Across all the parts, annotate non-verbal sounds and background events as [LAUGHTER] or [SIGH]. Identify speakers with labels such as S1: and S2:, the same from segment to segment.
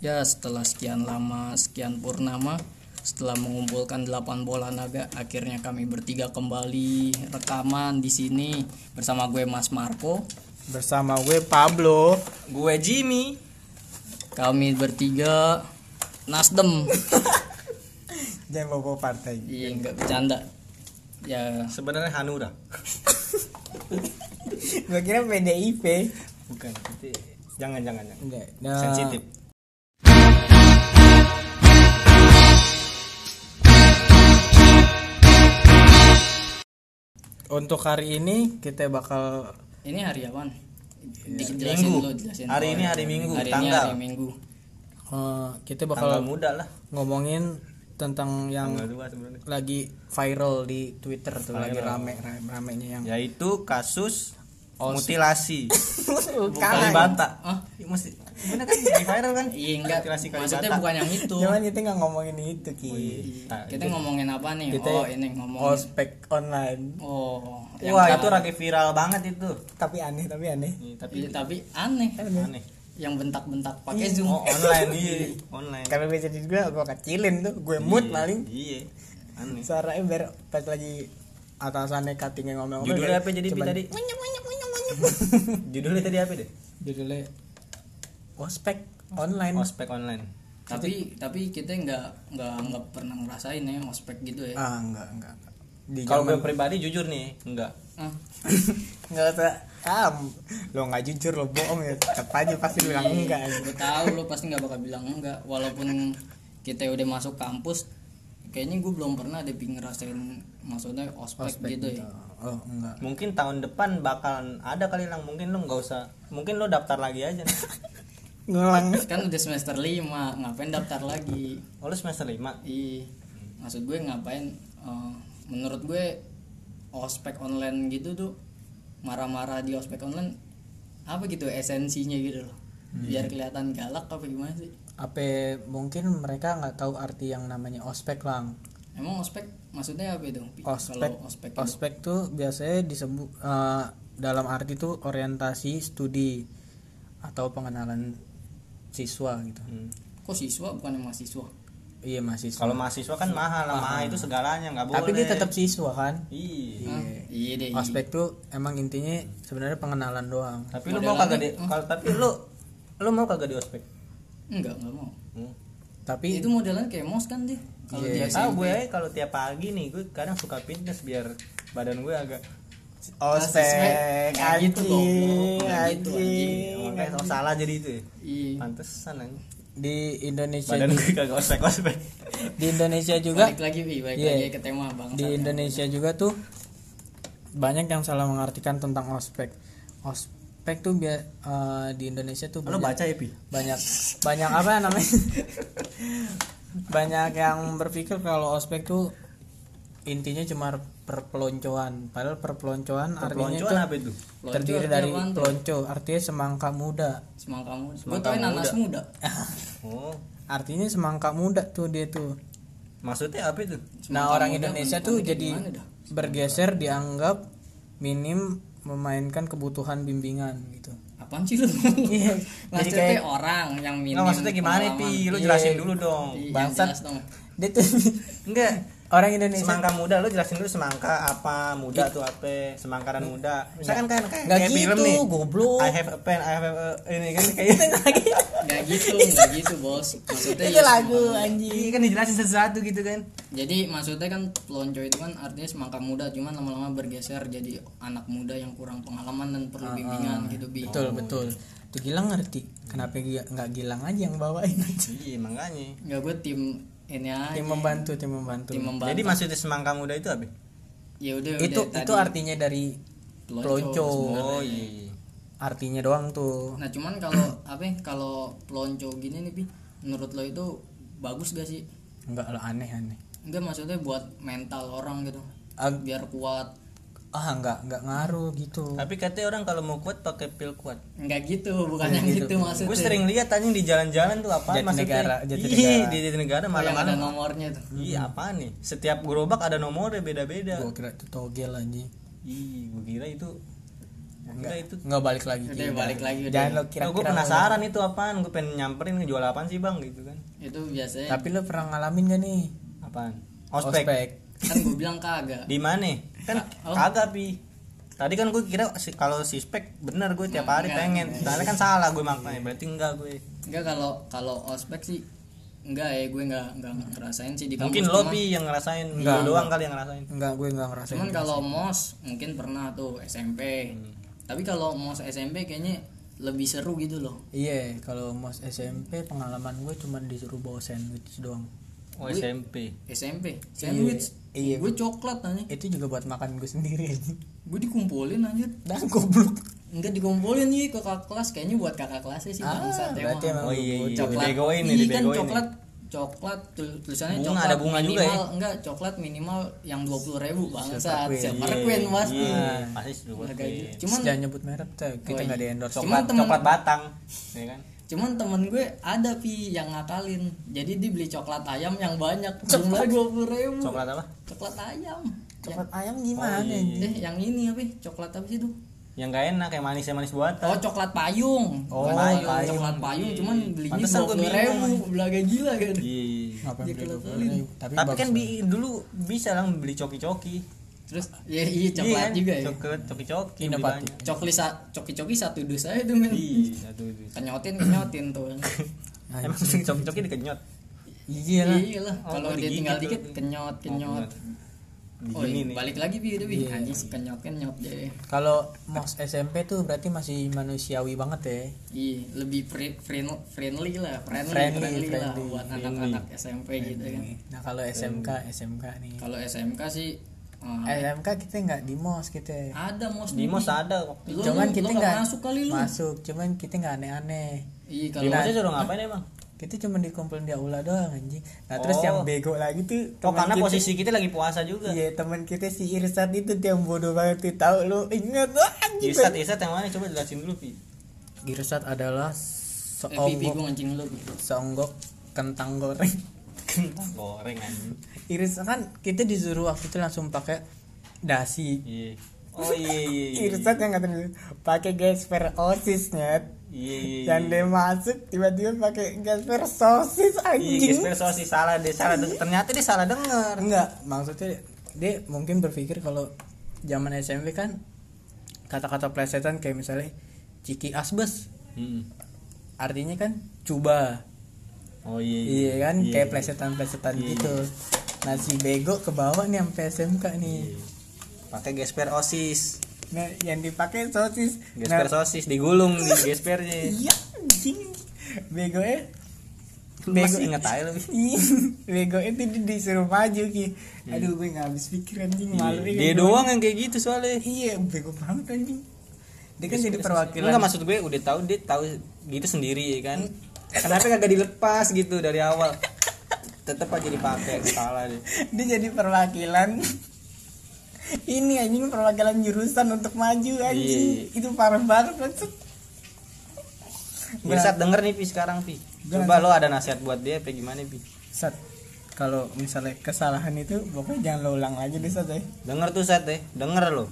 S1: Ya, setelah sekian lama, sekian purnama, setelah mengumpulkan 8 bola naga, akhirnya kami bertiga kembali rekaman di sini bersama gue Mas Marco.
S2: Bersama gue Pablo.
S3: Gue Jimmy.
S1: Kami bertiga
S3: [LAUGHS]
S1: Nasdem.
S2: Jangan bawa partai.
S1: Iya, enggak bercanda. Ya,
S3: Sebenarnya Hanura.
S2: Gue kira PDIP.
S3: Bukan. Nanti jangan jangan jangan.
S2: Enggak. Nah,
S3: Sensitif.
S2: Untuk hari ini kita bakal
S1: ini hari apaan? Dikit jelasin
S3: Iya, Minggu.
S1: dulu, jelasin.
S3: Hari
S1: Oh,
S3: ini
S1: ya.
S3: hari Minggu,
S1: Hari ini
S3: tanggal.
S1: hari Minggu.
S2: eh, kita
S3: Tanggal
S2: bakal
S3: muda lah.
S2: ngomongin tentang yang
S3: Tanggal dua sebenarnya.
S2: lagi viral di Twitter tuh lagi
S3: Viral.
S2: rame rame- ramenya yang
S3: Yaitu kasus
S2: Oh, [LAUGHS]
S3: mutilasi
S2: bukan
S3: Kalibata.
S1: Hah?
S3: Iya, Mesti bener kan di viral kan?
S1: Iya, enggak.
S3: Mutilasi Kalibata.
S1: Maksudnya bukan yang itu.
S2: cuman kita nggak ngomongin itu ki
S3: Nah,
S1: Kita ngomongin apa nih?
S2: kita
S1: Oh, ini ngomongin.
S2: ospek online
S1: Oh, yang
S3: Wah,
S1: kan-
S3: itu lagi viral banget itu.
S2: tapi aneh tapi aneh
S3: Nih,
S1: Iya,
S3: tapi
S1: tapi aneh
S2: Iya.
S3: aneh.
S1: yang bentak-bentak pakai zoom
S3: Oh, online iya, online.
S2: kalau gue jadi gue gue kecilin tuh gue mood
S3: Iya,
S2: paling
S3: Iya. Aneh.
S2: suaranya biar pas lagi atasannya cuttingnya ngomong
S3: Judulnya apa jadi Bi, tadi? [LAUGHS] Judulnya tadi apa deh?
S2: judulnya ospek online
S3: Ospek online.
S1: tapi tapi kita nggak nggak nggak pernah ngerasain ya ospek gitu ya
S2: ah enggak enggak enggak di
S3: Kalau
S2: zaman
S3: gue pribadi jujur nih, enggak.
S1: ah.
S2: [LAUGHS] enggak usah ah lo nggak jujur lo bohong ya tetap aja pasti lu bilang enggak aja.
S1: gue tahu lo pasti nggak bakal bilang enggak walaupun kita udah masuk kampus kayaknya gue belum pernah deh pi ngerasain maksudnya ospek, gitu ya
S2: oh enggak
S3: Mungkin tahun depan bakalan ada kali lang mungkin lo nggak usah. Mungkin lo daftar lagi aja. Nih.
S2: ngulang
S1: kan udah semester 5 ngapain daftar lagi
S3: Oh, lo semester 5.
S1: Ih, maksud gue ngapain? eh, menurut gue ospek online gitu tuh marah-marah di ospek online apa gitu esensinya gitu loh. Biar kelihatan galak apa gimana sih?
S2: apa mungkin mereka nggak tahu arti yang namanya ospek lang
S1: Emang ospek maksudnya apa itu? Pi?
S2: ospek
S1: Kalau ospek, itu.
S2: ospek tuh biasanya disebut eh, dalam arti tuh orientasi studi atau pengenalan siswa gitu
S1: Kok siswa bukan mahasiswa?
S2: iya mahasiswa
S3: Hmm. Kalau mahasiswa kan mahal, lah. mahal itu segalanya nggak boleh.
S2: tapi dia tetap siswa kan
S3: Iya.
S1: Hah? Iya deh. iya.
S2: ospek tuh emang intinya sebenarnya pengenalan doang
S3: Tapi lo mau kagak di kalau tapi lo lo mau kagak di ospek?
S1: Enggak, enggak mau.
S3: Hmm.
S2: tapi
S1: Itu modelan kayak mos kan dia. Kalau
S2: Iya.
S1: dia
S3: Tahu gue kalau tiap pagi nih gue kadang suka fitness biar badan gue agak
S1: Ospek, Nggak gitu, goblok. Nggak gitu,
S2: anjing.
S3: makanya sok salah jadi itu. ya.
S1: Iya.
S3: Pantesan aja.
S2: di Indonesia
S3: Badan gue kagak ospek ospek.
S2: di Indonesia juga
S1: Balik lagi, Pi, balik
S2: Iya.
S1: lagi ke tema ya. Bang.
S2: di Indonesia juga tuh banyak yang salah mengartikan tentang ospek ospek tuh bia- eh, di Indonesia tuh
S3: Lo
S2: banyak,
S3: baca ya pi?
S2: banyak banyak apa namanya [LAUGHS] banyak yang berpikir kalau ospek tuh intinya cuma perpeloncoan padahal perpeloncoan, artinya
S3: Peloncoan
S2: tuh
S3: apa itu?
S1: Pelonco
S2: terdiri
S1: artinya
S2: dari
S1: apaan tuh?
S2: pelonco artinya semangka muda
S1: semangka muda. Gue
S3: Semangka
S1: tau nanas muda.
S3: Oh,
S2: artinya semangka muda tuh dia tuh
S3: maksudnya apa itu?
S2: nah
S1: Semangka
S2: orang
S1: muda
S2: Indonesia
S1: bentukannya
S2: tuh
S1: kayak
S2: jadi
S1: gimana dah?
S2: bergeser dianggap minim memainkan kebutuhan bimbingan gitu
S1: Apaan sih lu?
S2: Iya, jadi
S1: maksudnya
S2: kayak
S1: orang yang minim. Iya.
S3: Nggak Oh, maksudnya gimana pi? Lo jelasin dulu dong.
S1: Bangsat.
S2: dia tuh [LAUGHS]
S3: Enggak.
S2: orang Indonesia
S3: Semangka muda lo jelasin dulu semangka apa muda tuh apa semangkaran muda. Misalkan kan kayak,
S2: Nggak
S3: kayak film
S2: gitu,
S3: nih.
S2: goblok.
S3: I have a pen, I have a ini kan kayak [LAUGHS]
S1: Gak gitu, gak gitu bos. Maksudnya
S2: itu
S1: ya semangka
S2: lagu
S1: muda.
S3: Iya
S2: anjing
S3: kan dijelasin sesuatu gitu kan.
S1: Jadi maksudnya kan pelonco itu kan artinya semangka muda, cuman lama-lama bergeser jadi anak muda yang kurang pengalaman dan perlu bimbingan gitu bi.
S2: betul betul tuh Gilang ngerti kenapa gi- nggak Gilang aja yang bawain aja
S3: Iya makanya.
S1: Nggak, gue tim ini aja.
S2: tim membantu tim membantu
S1: Tim membantu.
S3: Jadi maksudnya semangka muda itu apa?
S1: ya udah
S2: itu
S1: udah,
S2: itu
S1: tadi.
S2: artinya dari
S1: Pelonco
S2: pelonco
S3: Oh iya.
S2: artinya doang tuh
S1: Nah cuman kalau [CLEARS THROAT] apa? ya, Kalau pelonco gini nih bi, menurut lo itu bagus gak sih?
S2: enggak lah aneh aneh
S1: Enggak maksudnya buat mental orang gitu.
S2: Ag-
S1: Biar kuat.
S2: ah enggak enggak ngaruh gitu
S3: Tapi katanya orang kalau mau kuat pakai pil kuat.
S1: Enggak gitu, bukan yang gitu, maksudnya.
S3: Gue sering lihat anjing di jalan-jalan tuh apa
S2: Jatinegara,
S3: maksudnya?
S2: Jatinegara.
S3: Iya, di
S1: Oh,
S3: Jatinegara
S1: yang ada
S3: malam-malam.
S1: nomornya tuh.
S3: Iya, apa nih? Setiap gerobak ada nomornya beda-beda.
S2: gua kira itu togel anjing
S3: Ih, gue kira itu Enggak itu.
S2: nggak balik lagi
S1: Nah, udah
S2: Ki.
S1: balik lagi udah
S2: jangan lo
S3: Kira gue
S2: kira-kira
S3: penasaran itu apaan, gue pengen nyamperin ngejual apaan sih bang gitu kan?
S1: itu biasanya
S2: tapi lo pernah ngalamin gak nih
S3: Apaan? Ospek.
S1: kan gue bilang kagak
S3: Di mana? Kan
S1: Oh.
S3: kagak pi. Tadi kan gue kira si- kalau si spek bener gue tiap hari
S1: Enggak,
S3: pengen. Soalnya kan salah gue maknanya. Berarti enggak gue.
S1: enggak kalau kalau ospek sih enggak ya gue enggak enggak ngerasain sih di kampus
S3: Mungkin lo
S1: cuman-
S3: pi yang ngerasain,
S2: Enggak,
S3: lo doang kali yang ngerasain.
S2: enggak gue nggak ngerasain
S1: cuman kalau mos mungkin pernah tuh SMP tapi kalau mos SMP kayaknya lebih seru gitu loh
S2: iya kalau mos SMP pengalaman gue cuman disuruh bawa sandwich doang
S3: Oh SMP.
S1: SMP sandwich
S2: Iya, iya.
S1: gue coklat nanya
S2: itu juga buat makan gue sendiri [LAUGHS]
S1: gue dikumpulin anjir
S2: dan goblok
S1: enggak dikumpulin nih ke kakak kelas kayaknya buat kakak kelasnya sih
S2: Ah,
S1: bangsat ya, emang.
S2: berarti emang
S3: Oh iya iya.
S1: coklat
S3: Dibegoin nih,
S1: Iya kan
S3: dibegoin.
S1: coklat coklat tul- tulisannya
S3: Bunga,
S1: coklat
S3: ada bunga juga
S1: minimal
S3: ya?
S1: enggak coklat minimal yang dua puluh ribu bangsat
S2: Silver Queen.
S1: siapa rekuen mas
S3: Iya, pasti sudah buat
S1: harga
S3: gue.
S1: itu cuman
S2: jangan nyebut merek tuh kita
S1: Oh,
S2: nggak di
S1: iya.
S2: endorse
S1: Cuman
S3: Coklat,
S1: temen-
S3: coklat batang, ya kan?
S1: cuman temen gue ada pi yang ngakalin jadi dia beli coklat ayam yang banyak jumlah dua puluh ribu
S3: Coklat apa?
S1: coklat ayam
S2: coklat ayam gimana
S3: Oh, iya,
S1: yang, eh yang ini apa coklat apa sih tuh
S3: Yang gak enak kayak manis manis buatan.
S1: Oh coklat payung.
S2: Oh,
S1: Bukan
S2: payung.
S1: coklat- Coklat payung cuman belinya
S3: Pantesan
S1: dua
S3: gua
S1: puluh
S3: bingung,
S1: ribu, belaga gila kan.
S3: Iya.
S2: ngapain
S1: Dia
S2: beli
S1: kelelin.
S2: 20.000? tapi,
S3: Tapi
S2: bagus
S3: kan bi- dulu bisa lah beli coki-coki.
S1: Terus ya iya coklat
S3: Iya kan?
S1: juga ya.
S3: Coklat, coki-coki. beli
S2: Inovatif.
S3: banyak.
S1: Cokli sa- coki-coki satu dus aja tuh men.
S3: Iya, satu itu.
S1: Kenyotin kenyotin tuh. kan.
S2: Anjing.
S3: Emang sih coki-coki dikenyot.
S2: Nah, iya lah
S1: Iya lah,
S3: Oh,
S1: kalau dia
S3: digigit
S1: tinggal
S3: tuh.
S1: dikit kenyot kenyot. Oh,
S3: Begini nih.
S1: balik lagi bi udah bi anjing sih kenyot kenyot deh.
S2: kalau mos SMP tuh berarti masih manusiawi banget ya
S1: Iya, lebih fri- friend- friendly lah, friendly,
S2: Friendly,
S1: friendly, lah
S2: friendly,
S1: buat anak-anak SMP gitu kan.
S2: nah kalau SMK SMK nih
S1: Kalau SMK sih eh,
S2: SMK kita nggak di mos kita
S1: ada mos
S3: Di
S1: nih,
S3: mos
S1: Bi.
S3: ada waktu.
S1: Lu-
S2: cuman
S1: Iya, lu-
S2: kita
S1: lu nggak
S2: nggak
S1: masuk kali lu.
S2: masuk cuman kita nggak aneh-aneh
S1: Iya
S3: Di
S1: kalau
S3: mosnya suruh ngapain emang?
S2: kita cuma dikumpulin di aula doang anjing nah terus
S3: Oh.
S2: yang bego lagi tuh
S3: Oh
S2: teman
S3: karena
S2: kita-
S3: posisi kita lagi puasa juga.
S2: iya teman kita si Irsat itu dia yang bodoh banget tuh tahu lu ingat lu anjing
S3: Irsat, iya. Irsat yang mana? Coba jelasin dulu, Pi.
S2: Irsat adalah
S1: eh, Bi, Bi, gua
S2: seonggok
S1: ngancing lu. Bi.
S2: seonggok kentang goreng [LAUGHS]
S3: Kentang goreng anjing.
S2: Irsat kan kita disuruh waktu itu langsung pakai dasi
S3: Iya. Oh iya iya. iya.
S2: Irsat yang ngatain pakai gesper osisnya
S3: Iya iya. iya.
S2: dan dia masuk tiba-tiba pakai gesper sosis
S3: Iya,
S2: anjing
S3: gesper sosis salah deh, salah denger. Ternyata dia salah denger.
S2: enggak maksudnya dia mungkin berpikir kalau zaman SMP kan kata-kata plesetan kayak misalnya ciki asbes artinya kan coba
S3: Oh
S2: iya
S3: iya.
S2: kan kayak plesetan-plesetan
S3: Iya,
S2: gitu nah si bego ke bawah nih sampai SMK nih
S3: Iya. Pakai gesper osis.
S2: nah yang dipakai sosis nah,
S3: Gesper sosis digulung di gespernya.
S2: [LAUGHS] iya anjing bego eh
S3: Lu Masih inget aja
S2: [LAUGHS]
S3: lebih.
S2: Iya, bego itu dia disuruh maju ki aduh gue nggak habis pikir anjing malu
S3: Iya. Dia doang yang kayak gitu soalnya.
S2: iya bego banget anjing dia kan jadi
S3: Enggak
S2: perwakilan
S3: maksud gue udah tahu dia tahu gitu sendiri ya kan.
S2: Hmm.
S3: Kenapa kagak dilepas gitu dari awal? Tetep aja dipakai salah
S2: [LAUGHS]
S3: deh.
S2: [LAUGHS] dia jadi perwakilan [LAUGHS] ini anjing perwakilan jurusan untuk maju anjing itu parah banget maksud
S3: Irsat Ya, denger nih Pi sekarang Pi. Coba lo ada nasihat buat dia apa gimana Pi?
S2: Sat, kalau misalnya kesalahan itu pokoknya jangan lo ulang lagi deh Sat ya.
S3: Denger tuh Sat ya, denger lo.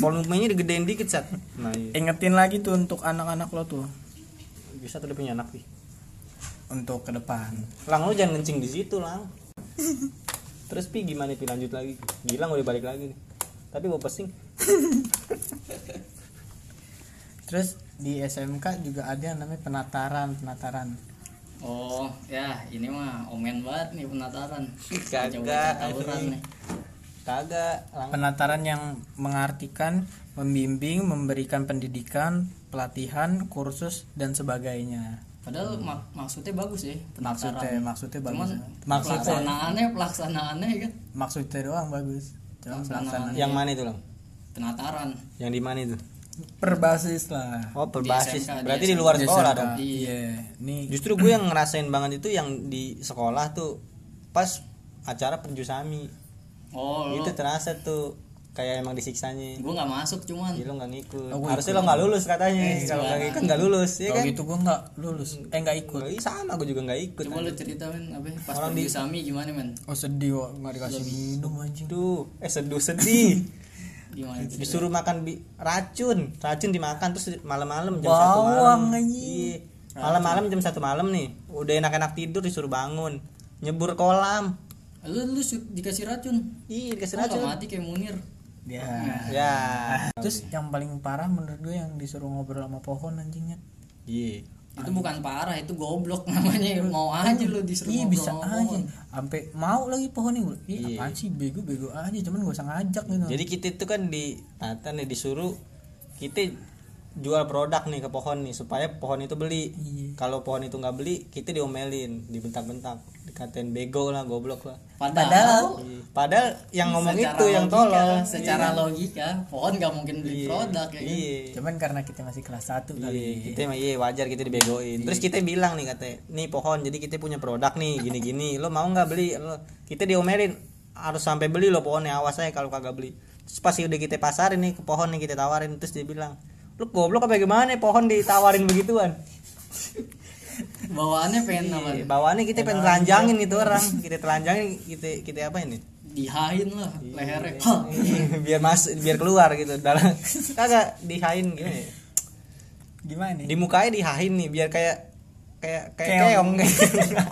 S3: Volumenya digedein dikit Sat. Nah, iya.
S2: Ingetin lagi tuh untuk anak-anak lo tuh
S3: bisa tuh udah punya anak Pi.
S2: untuk ke depan.
S3: Lang lu jangan kencing di situ, Lang. Terus Pi gimana Pi lanjut lagi? Gilang udah balik lagi nih. Tapi mau pesing.
S2: Terus di SMK juga ada yang namanya penataran, penataran.
S1: Oh, ya ini mah omen banget nih penataran.
S3: Kagak,
S1: Coba tawuran
S3: anjing.
S1: nih.
S3: Kagak, Lang.
S2: Penataran yang mengartikan, membimbing, memberikan pendidikan, pelatihan, kursus dan sebagainya.
S1: Padahal mak- maksudnya bagus ya penataran.
S2: Maksudnya, maksudnya
S1: Cuman
S2: bagus.
S3: ya.
S2: Maksudnya,
S1: pelaksanaannya pelaksanaannya ya kan
S2: maksudnya doang bagus. Cuma pelaksanaan
S3: Yang mana itu, Lang?
S1: penataran.
S3: Yang di mana itu?
S2: perbasis lah.
S3: Oh, berbasis.
S1: SMK, di
S3: Berarti di
S1: SMK.
S3: luar
S2: Di
S3: sekolah
S2: SMK.
S3: dong.
S2: Iya. Ini
S3: Justru gue yang ngerasain banget itu yang di sekolah tuh pas acara penjusami.
S1: Oh,
S3: Itu
S1: lo,
S3: terasa tuh kayak emang disiksanya.
S1: gua nggak masuk cuman.
S3: Jadi lo nggak ngikut.
S2: Oh, gue
S3: Harusnya lo nggak lulus katanya. Kalau nggak
S1: sembarangan.
S3: ngikut nggak lulus, ya
S2: kalau
S3: kan?
S2: gitu gue nggak lulus. Eh nggak ikut.
S3: Iya sama, gue juga nggak ikut.
S1: Coba lu ceritain apa ya, pas
S3: Orang di-
S1: pergi Sami gimana men?
S2: Oh sedih kok nggak dikasih minum anjing.
S3: Aduh, eh sedih sedih.
S1: gimana itu?
S3: disuruh
S2: Iya.
S3: makan bi- racun racun dimakan terus malam-malam jam satu malam
S2: Bawang, anjing.
S3: Iya. malam-malam jam satu malam nih udah enak-enak tidur disuruh bangun nyebur kolam
S1: Lu lu su- dikasih racun.
S3: iya
S2: Oh,
S3: dikasih
S1: Racun
S3: racun
S1: mati kayak Munir.
S2: Ya.
S3: ya
S2: Terus yang paling parah menurut gue yang disuruh ngobrol sama pohon anjingnya.
S3: iya
S1: Itu bukan parah, itu goblok namanya. Mau aja lu disuruh
S2: Iya
S1: ngobrol
S2: bisa
S1: sama
S2: aja.
S1: pohon.
S2: Sampai mau lagi pohon ini. Iya
S3: Iya.
S2: apaan sih bego-bego aja cuman gak usah ngajak gitu.
S3: jadi kita itu kan di Tata nih disuruh kita jual produk nih ke pohon nih supaya pohon itu beli
S2: Iya.
S3: kalau pohon itu nggak beli kita diomelin dibentak-bentak dikatain bego lah goblok lah
S2: Oh.
S3: Iya.
S1: Padahal,
S3: padahal yang ngomong
S1: secara
S3: itu yang
S1: logika,
S3: tolol
S1: Secara logika, pohon gak mungkin beli produk ya kan.
S3: iya
S2: Cuman karena kita masih kelas 1
S3: Iya,
S2: kali.
S3: kita emang iya wajar kita dibegoin. Terus kita bilang nih katanya, nih pohon jadi kita punya produk nih gini-gini. Lo mau nggak beli? Lo kita diomelin harus sampai beli lo pohonnya awas aja kalau kagak beli. Terus pas udah kita pasarin nih ke pohon nih kita tawarin terus dia bilang, lo goblok apa gimana? Pohon ditawarin begituan.
S1: Bawaannya pengen apa?
S3: Iya, Bawaannya kita pengen telanjangin itu orang, kita telanjangin kita kita apa ini? [LAUGHS]
S1: Dihain lah
S3: Iya.
S1: lehernya. Iya. Hah.
S3: biar mas biar keluar gitu dalam kagak dihain gimana ya?
S2: Gimana nih?
S3: di mukanya dihain nih biar kayak kayak kayak keong, [LAUGHS]
S2: Keong.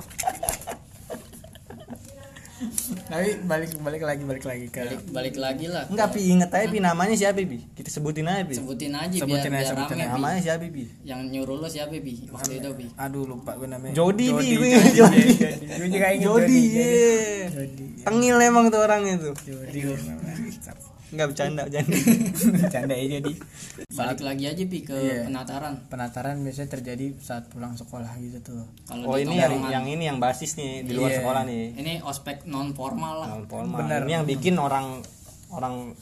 S2: Tapi balik balik lagi balik lagi ke
S1: Balik, balik lagi lah.
S3: enggak pi inget aja pi namanya siapa pi kita sebutin aja pi
S1: Sebutin aja biar,
S2: Sebutin aja,
S1: biar
S2: sebutin
S1: rame. Bi.
S2: aja.
S3: namanya siapa pi
S1: Yang nyuruh lo siapa Bi? Waktu itu Bi.
S2: Aduh lupa gue namanya.
S3: Jody pi
S2: Jody.
S3: gue
S2: Jody.
S3: Jody
S2: Jody. Gue juga ingat
S3: Jody
S2: Jody.
S3: yeah.
S2: Jody.
S3: tengil emang tuh orang itu
S2: Jody. Jody. ya,
S3: enggak bercanda bercanda
S2: Canda aja di
S1: Balik lagi aja Bi ke
S2: Iya.
S1: penataran.
S2: penataran biasanya terjadi saat pulang sekolah gitu tuh.
S1: Kalau
S3: oh
S1: di
S3: ini yang
S1: tongkrongan.
S3: yang ini yang basis nih di luar
S2: Iya.
S3: sekolah nih
S1: ini ospek non formal lah.
S3: Nah, formal.
S2: Bener.
S3: ini yang bikin orang orang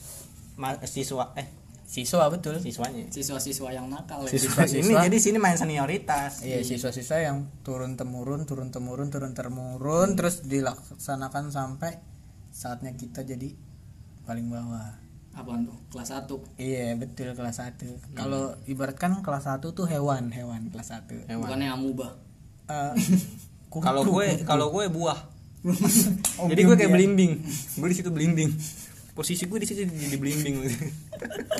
S3: ma- siswa eh
S2: Siswa betul.
S3: siswanya
S1: Siswa-siswa yang nakal ya.
S2: Siswa-siswa.
S3: ini jadi sini main senioritas
S2: Iya, siswa-siswa yang turun temurun, turun temurun, turun temurun, terus dilaksanakan sampai saatnya kita jadi paling bawah.
S1: Apaan tuh? Kelas 1.
S2: Iya, betul kelas 1. Kalau ibaratkan kelas 1 tuh hewan, hewan kelas 1.
S1: Bukannya amuba.
S2: [LAUGHS] Eh, kutu.
S3: kalau gue kalau gue buah
S2: Om
S3: Jadi gue
S2: Jum
S3: kayak
S2: dia.
S3: belimbing. Gue di situ belimbing. Posisi gue di situ jadi belimbing. [LAUGHS]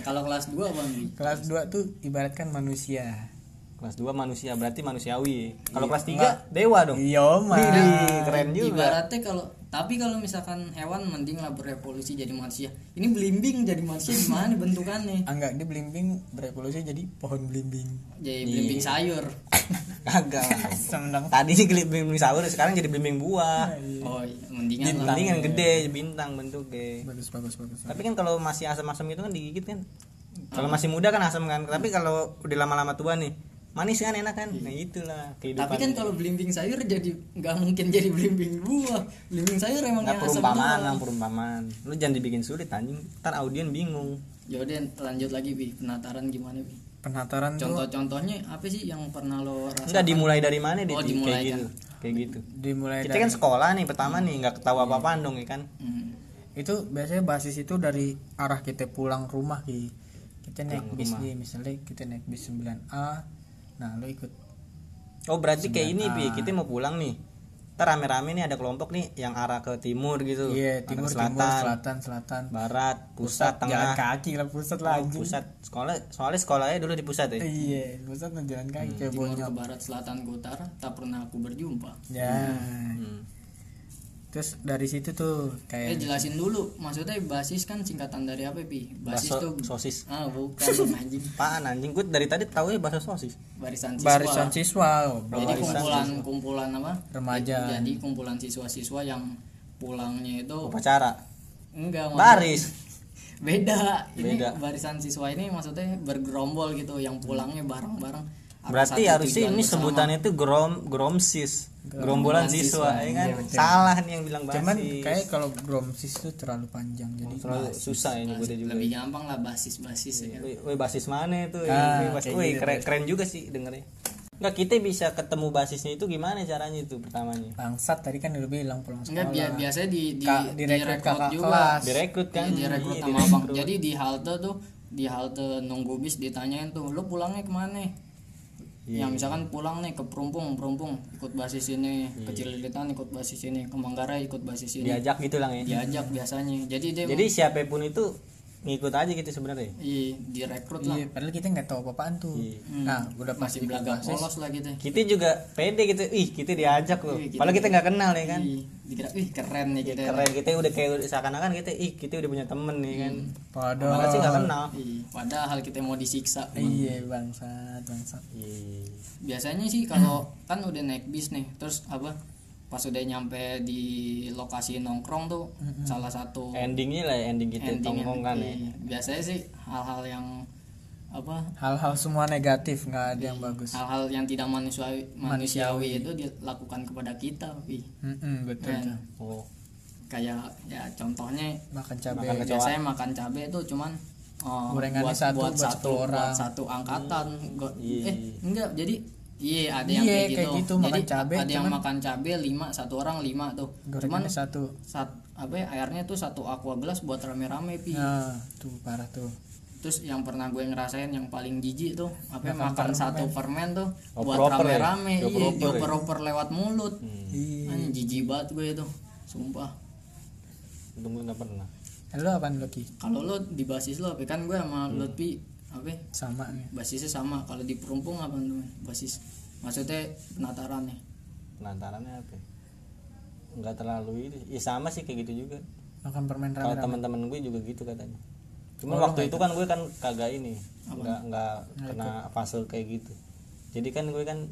S1: Kalau kelas 2 Bang Bi.
S2: ya? kelas 2 tuh ibaratkan manusia.
S3: kelas 2 manusia berarti manusiawi. Kalau
S2: Iya,
S3: kelas 3
S2: enggak.
S3: dewa dong.
S2: Iya,
S3: Wih,
S2: Mas.
S3: keren juga.
S1: Ibaratnya kalau tapi kalau misalkan hewan mending lah berevolusi jadi manusia. Ini belimbing jadi manusia gimana bentukannya?
S2: Ah, enggak, dia belimbing berevolusi jadi pohon belimbing.
S1: Jadi belimbing sayur. [LAUGHS]
S3: Kagak.
S2: Seneng.
S3: Tadi sih belimbing sahur, sekarang jadi belimbing buah.
S1: Oh, iya, mendingan lah.
S3: Belimbing yang gede, bintang bentuknya.
S2: Bagus, bagus, bagus.
S3: Tapi kan kalau masih asam-asam gitu kan digigit kan. Kalau
S1: Hmm.
S3: masih muda kan asam kan. Tapi kalau udah lama-lama tua nih, manis kan enak kan. Nah, itulah
S1: Iya.
S3: kehidupan.
S1: Tapi kan kalau belimbing sayur jadi nggak mungkin jadi belimbing buah. Belimbing sayur emang
S3: Nah,
S1: yang asam
S3: perumpamaan lah
S1: doang.
S3: perumpamaan lu jangan dibikin sulit anjing ntar audien bingung
S1: Yaudah Ya lanjut lagi Bi, penataran gimana Bi?
S2: Penataran tuh
S1: Contoh-contohnya apa sih yang pernah lo rasakan?
S3: Enggak dimulai dari mana deh
S1: Oh,
S3: Ti? kayak
S1: dimulai
S3: gitu. Kayak gitu.
S2: dimulai
S3: Kita
S2: dari
S3: kan sekolah nih pertama nih nggak
S1: Iya.
S3: ketawa apa-apaan dong ya kan.
S1: Hmm.
S2: itu biasanya basis itu dari arah kita pulang rumah ki kita naik bis nih misalnya kita naik bis 9A nah lo ikut
S3: Oh berarti kayak ini Pi, kita mau pulang nih. Ntar rame-rame nih ada kelompok nih yang arah ke timur gitu.
S2: iya
S3: Arah ke
S2: timur
S3: selatan,
S2: timur selatan selatan
S3: barat,
S2: jalan
S3: pusat, tengah. Oh,
S2: kaki lah pusat lah anjing
S3: Pusat sekolah soalnya sekolahnya dulu di pusat ya. Hmm,
S2: iya pusat mah jalan kaki kayak
S1: Timur ke
S2: bonyok
S1: barat, selatan ke utara, tak pernah aku berjumpa.
S2: ya
S3: Hmm.
S2: terus dari situ tuh
S1: Eh
S2: kayak
S1: jelasin dulu, maksudnya basis kan singkatan dari apa Pi? Basis
S3: Baso-
S1: tuh
S3: sosis.
S1: Ah,
S3: [LAUGHS]
S1: bukan anjing.
S3: Apaan anjing gue dari tadi tahu ya bahasa sosis.
S1: Barisan siswa.
S2: barisan siswa oh,
S1: Jadi kumpulan kumpulan apa?
S3: Ya.
S2: Remaja.
S1: Jadi kumpulan siswa-siswa yang pulangnya
S2: Oh.
S1: itu
S3: Upacara.
S1: enggak maksudnya-
S3: Baris.
S2: iya.
S1: beda ini
S3: Beda.
S1: barisan siswa ini maksudnya bergerombol gitu yang pulangnya bareng-bareng Atas
S3: Berarti
S1: satu
S3: harusnya
S1: tujuan
S3: ini
S1: bersama.
S3: sebutannya itu grom gromsis. Gerombolan siswa, ya kan?
S2: Iya, betul.
S3: Salah nih yang bilang basis.
S2: cuman kayak kalau bromsis tuh terlalu panjang jadi
S3: Terlalu susah ya nyebutnya juga.
S1: Nah, lebih gampang lah basis-basis ya kan.
S3: Woi, woi, Iya. basis mana itu?
S2: Ah,
S3: Woi, bas-
S2: kayak
S3: woi,
S2: gitu.
S3: keren, keren juga sih dengernya. Enggak kita bisa ketemu basisnya itu gimana caranya itu pertamanya?
S2: bangsat tadi kan udah bilang pulang
S1: enggak
S2: sekolah
S1: bia- biasanya di di
S2: Kak, direkrut kakak
S1: juga
S2: kelas.
S3: Direkrut kan?
S1: Iya, direkrut
S3: Iya,
S1: sama
S3: direkrut.
S1: abang jadi di halte tuh di halte nunggu bis ditanyain tuh lu pulangnya kemana
S3: Iya.
S1: yang misalkan pulang nih ke Perumpung Perumpung ikut basis ini
S3: Iya.
S1: ke Cililitan ikut basis ini ke Manggarai ikut basis ini Iya.
S3: Diajak gitu lang ya.
S1: diajak biasanya jadi dia
S3: Jadi siapapun itu ngikut aja gitu sebenarnya
S1: Iya, direkrut lah.
S2: Iya, padahal kita nggak tahu apa-apaan tuh.
S3: Iya.
S2: Nah, udah
S1: Masih
S2: pasti
S1: belagak
S2: basis.
S1: polos lah gitu.
S3: kita juga pede gitu ih kita diajak loh
S1: Iya, gitu.
S3: padahal kita nggak kenal ya kan
S1: Iya, dikira ih keren nih kita.
S3: keren kita udah kayak seakan-akan kita ih kita udah punya temen nih kan
S2: Padahal.
S3: padahal sih nggak kenal
S1: Iya, padahal kita mau disiksa.
S2: Iya, bangsat, bangsat.
S3: Iya.
S1: biasanya sih kalau kan udah naik bis nih terus apa pas udah nyampe di lokasi nongkrong tuh salah satu
S3: endingnya lah ending kita
S1: ending
S3: tongkong kan Eh, ya
S1: iya. biasanya sih hal-hal yang apa
S2: Hal-hal semua negatif nggak ada yang bagus.
S1: hal-hal yang tidak manusiawi manusiawi itu dilakukan kepada kita Pi.
S2: Mm-mm, betul.
S1: Dan
S2: tuh.
S3: oh
S1: kayak ya contohnya
S2: Makan cabai.
S3: Makan Kecoa.
S1: biasanya Iya, makan cabe itu cuman eh,
S2: Gorengannya satu buat
S1: satu
S2: 10 orang.
S1: buat satu angkatan Go-
S3: Iya.
S1: eh enggak jadi iya ada yang
S2: Iya,
S1: kayak gitu,
S2: kayak gitu,
S1: jadi
S2: makan cabe,
S1: ada yang
S2: cuman-
S1: makan cabe lima satu orang lima tuh cuman
S2: Gorengannya satu.
S1: sat apa ya, airnya tuh satu aqua gelas buat rame-rame pi
S2: Nah, tuh parah tuh.
S1: terus yang pernah gue ngerasain yang paling jijik tuh apa ya, makan satu permen tuh
S3: Oh,
S1: buat
S3: proper ya?
S1: rame-rame iya
S3: Dioper-oper ya? Hmm.
S1: dioper-oper lewat mulut
S2: Ih,
S1: Anjing, jijik banget gue itu sumpah
S3: untung gue nggak pernah
S2: Iya. Lu apaan Loki?
S1: kalau lo di basis lo apa kan gue sama
S3: Hmm.
S1: Lutfi apa ya,
S2: Sama nih.
S1: basisnya sama kalau di perumpung apa teman basis maksudnya penatarannya
S3: penasarannya apa ya? nggak terlalu ini ya sama sih kayak gitu juga
S2: Makan permen
S3: kalau
S2: rame-rame.
S3: teman-teman gue juga gitu katanya cuma waktu itu kan gue kan kagak ini nggak nggak kena fase kayak gitu jadi kan gue kan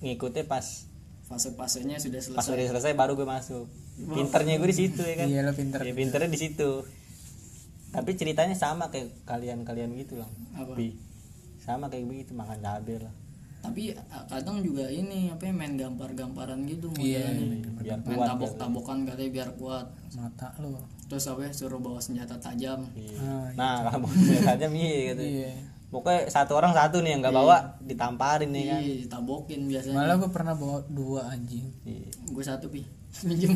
S3: ngikutnya pas
S1: fase fasenya sudah
S3: pas
S1: selesai
S3: udah selesai baru gue masuk pinternya gue di situ ya kan
S2: Iya, lo pinter.
S3: ya pinternya di situ tapi ceritanya sama kayak kalian-kalian gitu lah
S1: Apa?
S3: Bi. sama kayak begitu makan cabai lah
S1: tapi eh, kadang juga ini apa ya, main gambar-gambaran gitu modelannya
S3: biar
S1: main
S3: kuat
S1: tabok-tabokan katanya biar kuat
S2: Mata lu.
S1: terus apa ya, suruh bawa senjata tajam
S3: Iya.
S2: Ah,
S3: nah kalau biasanya iya gitu
S2: Iya.
S3: pokoknya satu orang satu nih yang nggak bawa ditamparin nih kan
S1: Iya, tabokin biasanya
S2: Malah gue pernah bawa dua anjing.
S3: Iya.
S1: gue satu pi [LAUGHS] minjem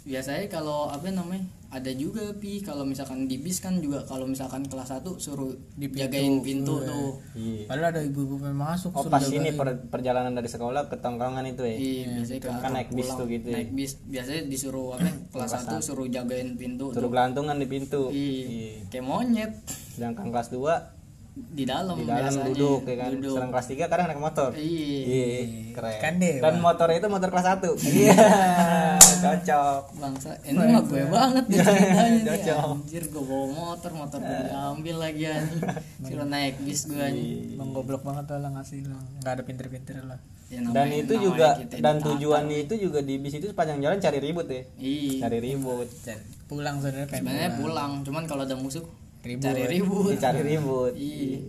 S1: biasanya kalau apa namanya ada juga pi kalau misalkan di bis kan juga kalau misalkan kelas 1 suruh jagain pintu tuh
S3: Iya.
S2: Padahal ada ibu-ibu yang masuk
S3: Oh
S2: suruh
S3: pas
S2: jagain.
S3: ini per- perjalanan dari sekolah ke tongkrongan itu ya.
S1: Iya, biasanya ke
S3: Kan
S1: arah
S3: naik bis
S1: pulang.
S3: tuh gitu ya.
S1: Naik bis biasanya disuruh apa?
S3: [CLEARS THROAT]
S1: kelas 1 suruh jagain pintu
S3: Suruh
S1: tuh.
S3: gelantungan di pintu.
S1: Iya.
S3: Iya.
S1: Kayak monyet
S3: Sedangkan kelas 2
S1: di dalam
S3: di dalam
S1: biasanya.
S3: duduk ya kan.
S1: Duduk.
S3: Sedangkan kelas 3 kadang naik motor.
S1: Iya.
S3: Iya, keren.
S2: Kan dewa.
S3: Dan motornya itu motor kelas 1. Iya, cocok. [LAUGHS]
S1: Bangsa, ini mah gue banget nih ceritanya nih.
S3: Iya, Cocok. Iya.
S1: Anjir, gue bawa motor, motor gue diambil lagi
S3: [LAUGHS]
S1: anjing. Suruh naik bis gue anjing.
S2: Emang goblok banget tuh lah ngasih lo. Enggak ada pinter-pinter lah.
S1: Ya,
S3: Dan
S1: namanya- namanya gitu.
S3: itu juga
S1: kita
S3: dan
S1: ditata.
S3: tujuannya itu juga di bis itu sepanjang jalan cari ribut ya.
S1: Iya.
S3: Cari ribut.
S2: Pulang saudara pengen.
S1: Sebenarnya pulang, cuman kalau ada musuh
S2: Ribut.
S1: cari ribut.
S3: Cari ribut.
S1: Iya.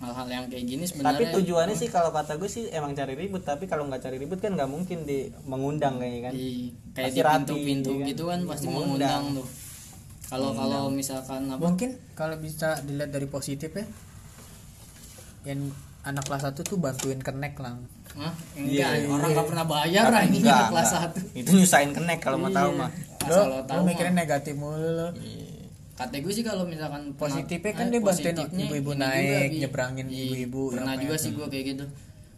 S1: Hal-hal yang kayak gini
S3: tapi
S1: sebenarnya
S3: tujuannya sih kalau kata gue sih emang cari ribut tapi kalau nggak cari ribut kan nggak mungkin di mengundang kayaknya kan
S1: Iya, kayak
S3: Pasti
S1: di
S3: rapi,
S1: pintu-pintu
S3: iya kan?
S1: gitu kan pasti
S3: Mengundang.
S1: mengundang tuh. Kalau kalau misalkan apa?
S2: Mungkin kalau bisa dilihat dari positif ya. Yang anak kelas 1 tuh bantuin kenek lang.
S1: Hah?
S2: Iya,
S1: Enggak, orang nggak pernah bayar lah ini
S3: Enggak,
S1: anak kelas Iya.
S3: enggak.
S1: 1.
S3: itu nyusahin kenek kalau mau tahu mah
S1: Asal lo
S2: Lo,
S1: tahu
S2: lo mikirin negatif mulu lo.
S1: Kata gue sih kalau misalkan pernah-
S2: Positifnya kan
S1: eh,
S2: dia bantuin
S1: positifnya
S2: ibu-ibu
S1: ini juga,
S2: naik,
S1: Bi.
S2: nyebrangin
S1: Iya,
S2: ibu-ibu,
S1: Pernah
S2: apa
S1: juga
S2: ya.
S1: sih gue kayak gitu.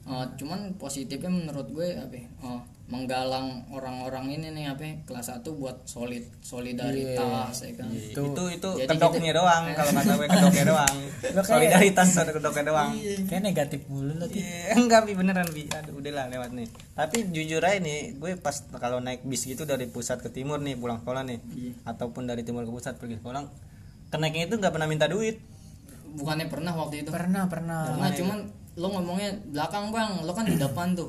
S1: Eh, cuman positifnya menurut gue apa? ya, eh, menggalang orang-orang ini nih apa? ya, Kelas 1 buat solid solidaritas
S2: Iya.
S1: ya kan.
S3: itu itu,
S1: Jadi gitu.
S3: kedoknya doang kalau kata gue kedoknya
S1: [LAUGHS]
S3: doang
S2: Lo kayak-
S3: solidaritas ada kedoknya doang
S1: Iya.
S2: Kayak negatif mulu lo. Ti.
S3: Iya, enggak bi beneran bi aduh udahlah lewat nih tapi jujur aja nih gue pas kalau naik bis gitu dari pusat ke timur nih pulang sekolah nih
S1: Iya.
S3: ataupun dari timur ke pusat pergi sekolah keneknya itu nggak pernah minta duit
S1: Bukannya pernah waktu itu?
S2: Pernah, pernah.
S1: Pernah cuman lo ngomongnya belakang bang, lo kan di depan tuh.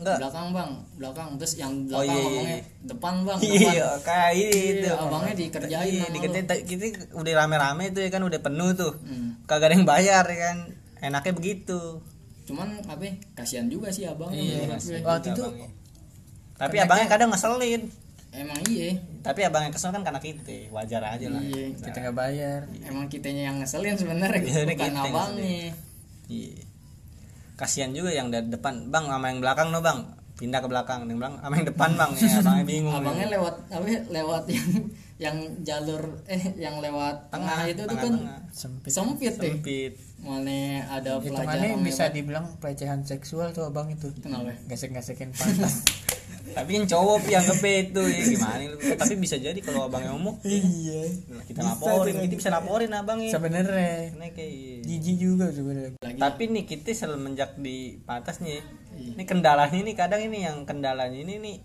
S3: enggak
S1: Belakang bang, belakang terus yang belakang
S3: iya, iya,
S1: ngomongnya
S3: iya.
S1: depan bang, depan.
S3: [LAUGHS] Iya, kayak itu.
S1: Iya, abangnya dikerjain
S3: Iya,
S1: sama lu.
S3: dikerjain. Ta- Kita udah rame-rame tuh ya kan udah penuh tuh.
S1: Hmm.
S3: Kagak ada yang bayar ya kan. Enaknya begitu.
S1: Cuman apa? ya, Kasihan juga sih abang.
S3: Iya,
S1: Iya, menurut gue.
S2: Waktu itu
S3: Tapi abangnya kadang ngeselin.
S1: Emang iya,
S3: Tapi abangnya kesel kan karena kita, wajar aja lah. Nah,
S1: iya.
S2: kita nggak bayar.
S1: Emang kitanya yang ngeselin sebenarnya
S3: Iya, ini
S1: bukan
S3: kita yang
S1: abangnya.
S3: Iya. Kasihan juga yang dari depan, Bang, sama yang belakang no, Bang. Pindah ke belakang, yang bilang sama yang depan, Bang.
S1: [LAUGHS]
S3: Ya, abangnya bingung.
S1: Abangnya lewat apa? ya, Lewat [LAUGHS] yang yang jalur eh yang lewat tengah, itu tuh kan
S3: tengah-tengah.
S2: Sempit.
S1: sempit deh.
S3: Sempit.
S1: Mana ada pelajaran
S2: Hitungannya bisa
S1: lewat.
S2: dibilang pelecehan seksual tuh abang itu.
S1: Kenapa?
S2: Gesek-gesekin pantat.
S3: tapi yang cowok yang gede itu ya gimana lu tapi bisa jadi kalau abangnya umum
S2: iya
S3: kita laporin kita bisa laporin abangnya
S2: sebenarnya
S3: Ini kayak-
S2: jijik juga sebenarnya
S1: lagi
S3: tapi nih kita semenjak di patas nih
S1: Iya.
S3: ini kendalanya ini kadang ini yang kendalanya ini nih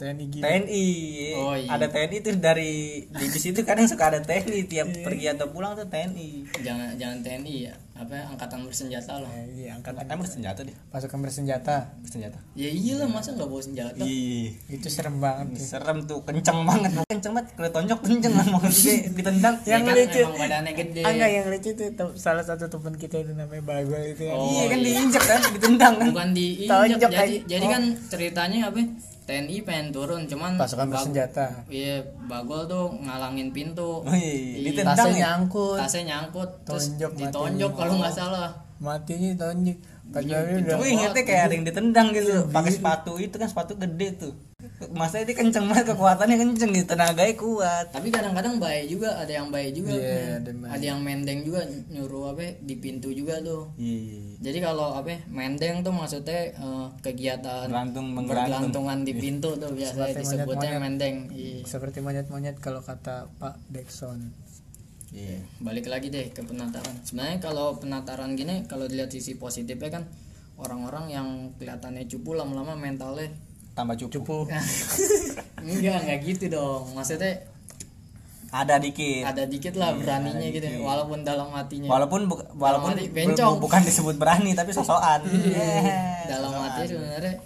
S2: TNI gini
S3: TNI
S1: Iya. Oh, iya.
S3: ada TNI itu dari di bis itu kadang suka ada TNI tiap
S1: Iya.
S3: pergi atau pulang tuh TNI
S1: jangan jangan TNI ya apa angkatan bersenjata lah
S2: Eh, iya angkatan
S3: emang senjata deh
S2: pasukan bersenjata
S3: senjata
S1: ya iyalah masa nggak bawa senjata
S3: Ih,
S1: Iya.
S2: itu serem banget ya.
S3: serem tuh kenceng banget kenceng banget kalau tonjok kenceng lah mau gede, ditendang
S1: Ya
S2: Yang
S1: kan,
S2: lucu.
S1: emang badannya gede
S2: Ah, enggak yang lucu itu tem- salah satu teman kita itu namanya Bagol itu ya.
S1: Oh,
S3: iya kan
S1: iya.
S3: diinjek kan ditendang kan
S1: bukan diinjak
S2: Tonjok
S1: jadi
S2: aja.
S1: jadi
S2: Oh.
S1: kan ceritanya apa TNI pengen turun cuman
S2: pasukan
S1: Bag-
S2: bersenjata
S1: iya bagol tuh ngalangin pintu
S3: Oh, iya.
S1: Di-
S3: Ditendang
S2: tasnya
S3: ya?
S2: nyangkut
S1: tasnya nyangkut terus
S2: Tonjok, Oh.
S1: ditonjok
S2: matiin.
S1: kalau nggak salah
S2: matinya tonjok
S1: Iya,
S2: katanya udah
S1: Oh,
S3: gue ingetnya kayak ada yang ditendang gitu pakai sepatu itu kan sepatu gede tuh masa dia kenceng banget kekuatannya kenceng gitu tenaganya kuat
S1: tapi kadang-kadang baik juga ada yang baik juga
S2: Iya, ada
S1: ada,
S2: yang baik.
S1: yang mendeng juga nyuruh apa ya, di pintu juga tuh
S3: Iya.
S1: jadi kalau apa ya, mendeng tuh maksudnya eh, kegiatan
S3: Bergelantung, menggelantung.
S1: bergelantungan di pintu tuh biasanya
S2: Seperti
S1: disebutnya
S2: monyet-monyet.
S1: mendeng Iya.
S2: seperti monyet-monyet kalau kata Pak Dexon
S3: Iya.
S1: balik lagi deh ke penataran sebenarnya kalau penataran gini kalau dilihat sisi positifnya kan orang-orang yang kelihatannya cupu lama-lama mentalnya kan.
S3: Tambah cupu.
S1: [LAUGHS] enggak enggak gitu dong maksudnya
S3: Ada dikit.
S1: ada dikit lah beraninya gitu walaupun dalam hatinya
S3: Walaupun bu- walaupun
S1: Dalam hati,
S3: bu-
S1: bencong. Iya.
S3: bu- bukan disebut berani tapi sosokan.
S1: [LAUGHS]
S3: Yeah.
S1: dalam hati sebenarnya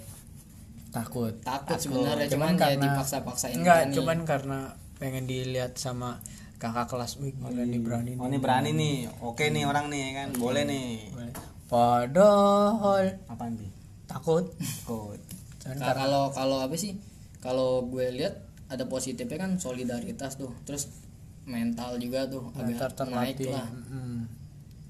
S2: takut
S1: takut sebenarnya cuman, ya
S2: Cuman karena-
S1: dipaksa-paksain
S2: enggak
S1: berani.
S2: cuman karena pengen dilihat sama kakak kelas wih
S1: Iya.
S2: gila nih berani
S3: Oh ini berani nih. Oke nih orang nih kan. Boleh nih.
S2: nih." padahal
S3: Apaan sih?
S2: takut
S3: Takut.
S2: Cuman
S1: Nah, kalau kalau apa sih kalau gue lihat ada positifnya kan solidaritas tuh terus mental juga tuh
S2: ntar
S1: agak naik
S2: terlatih
S1: lah
S2: Mm-mm.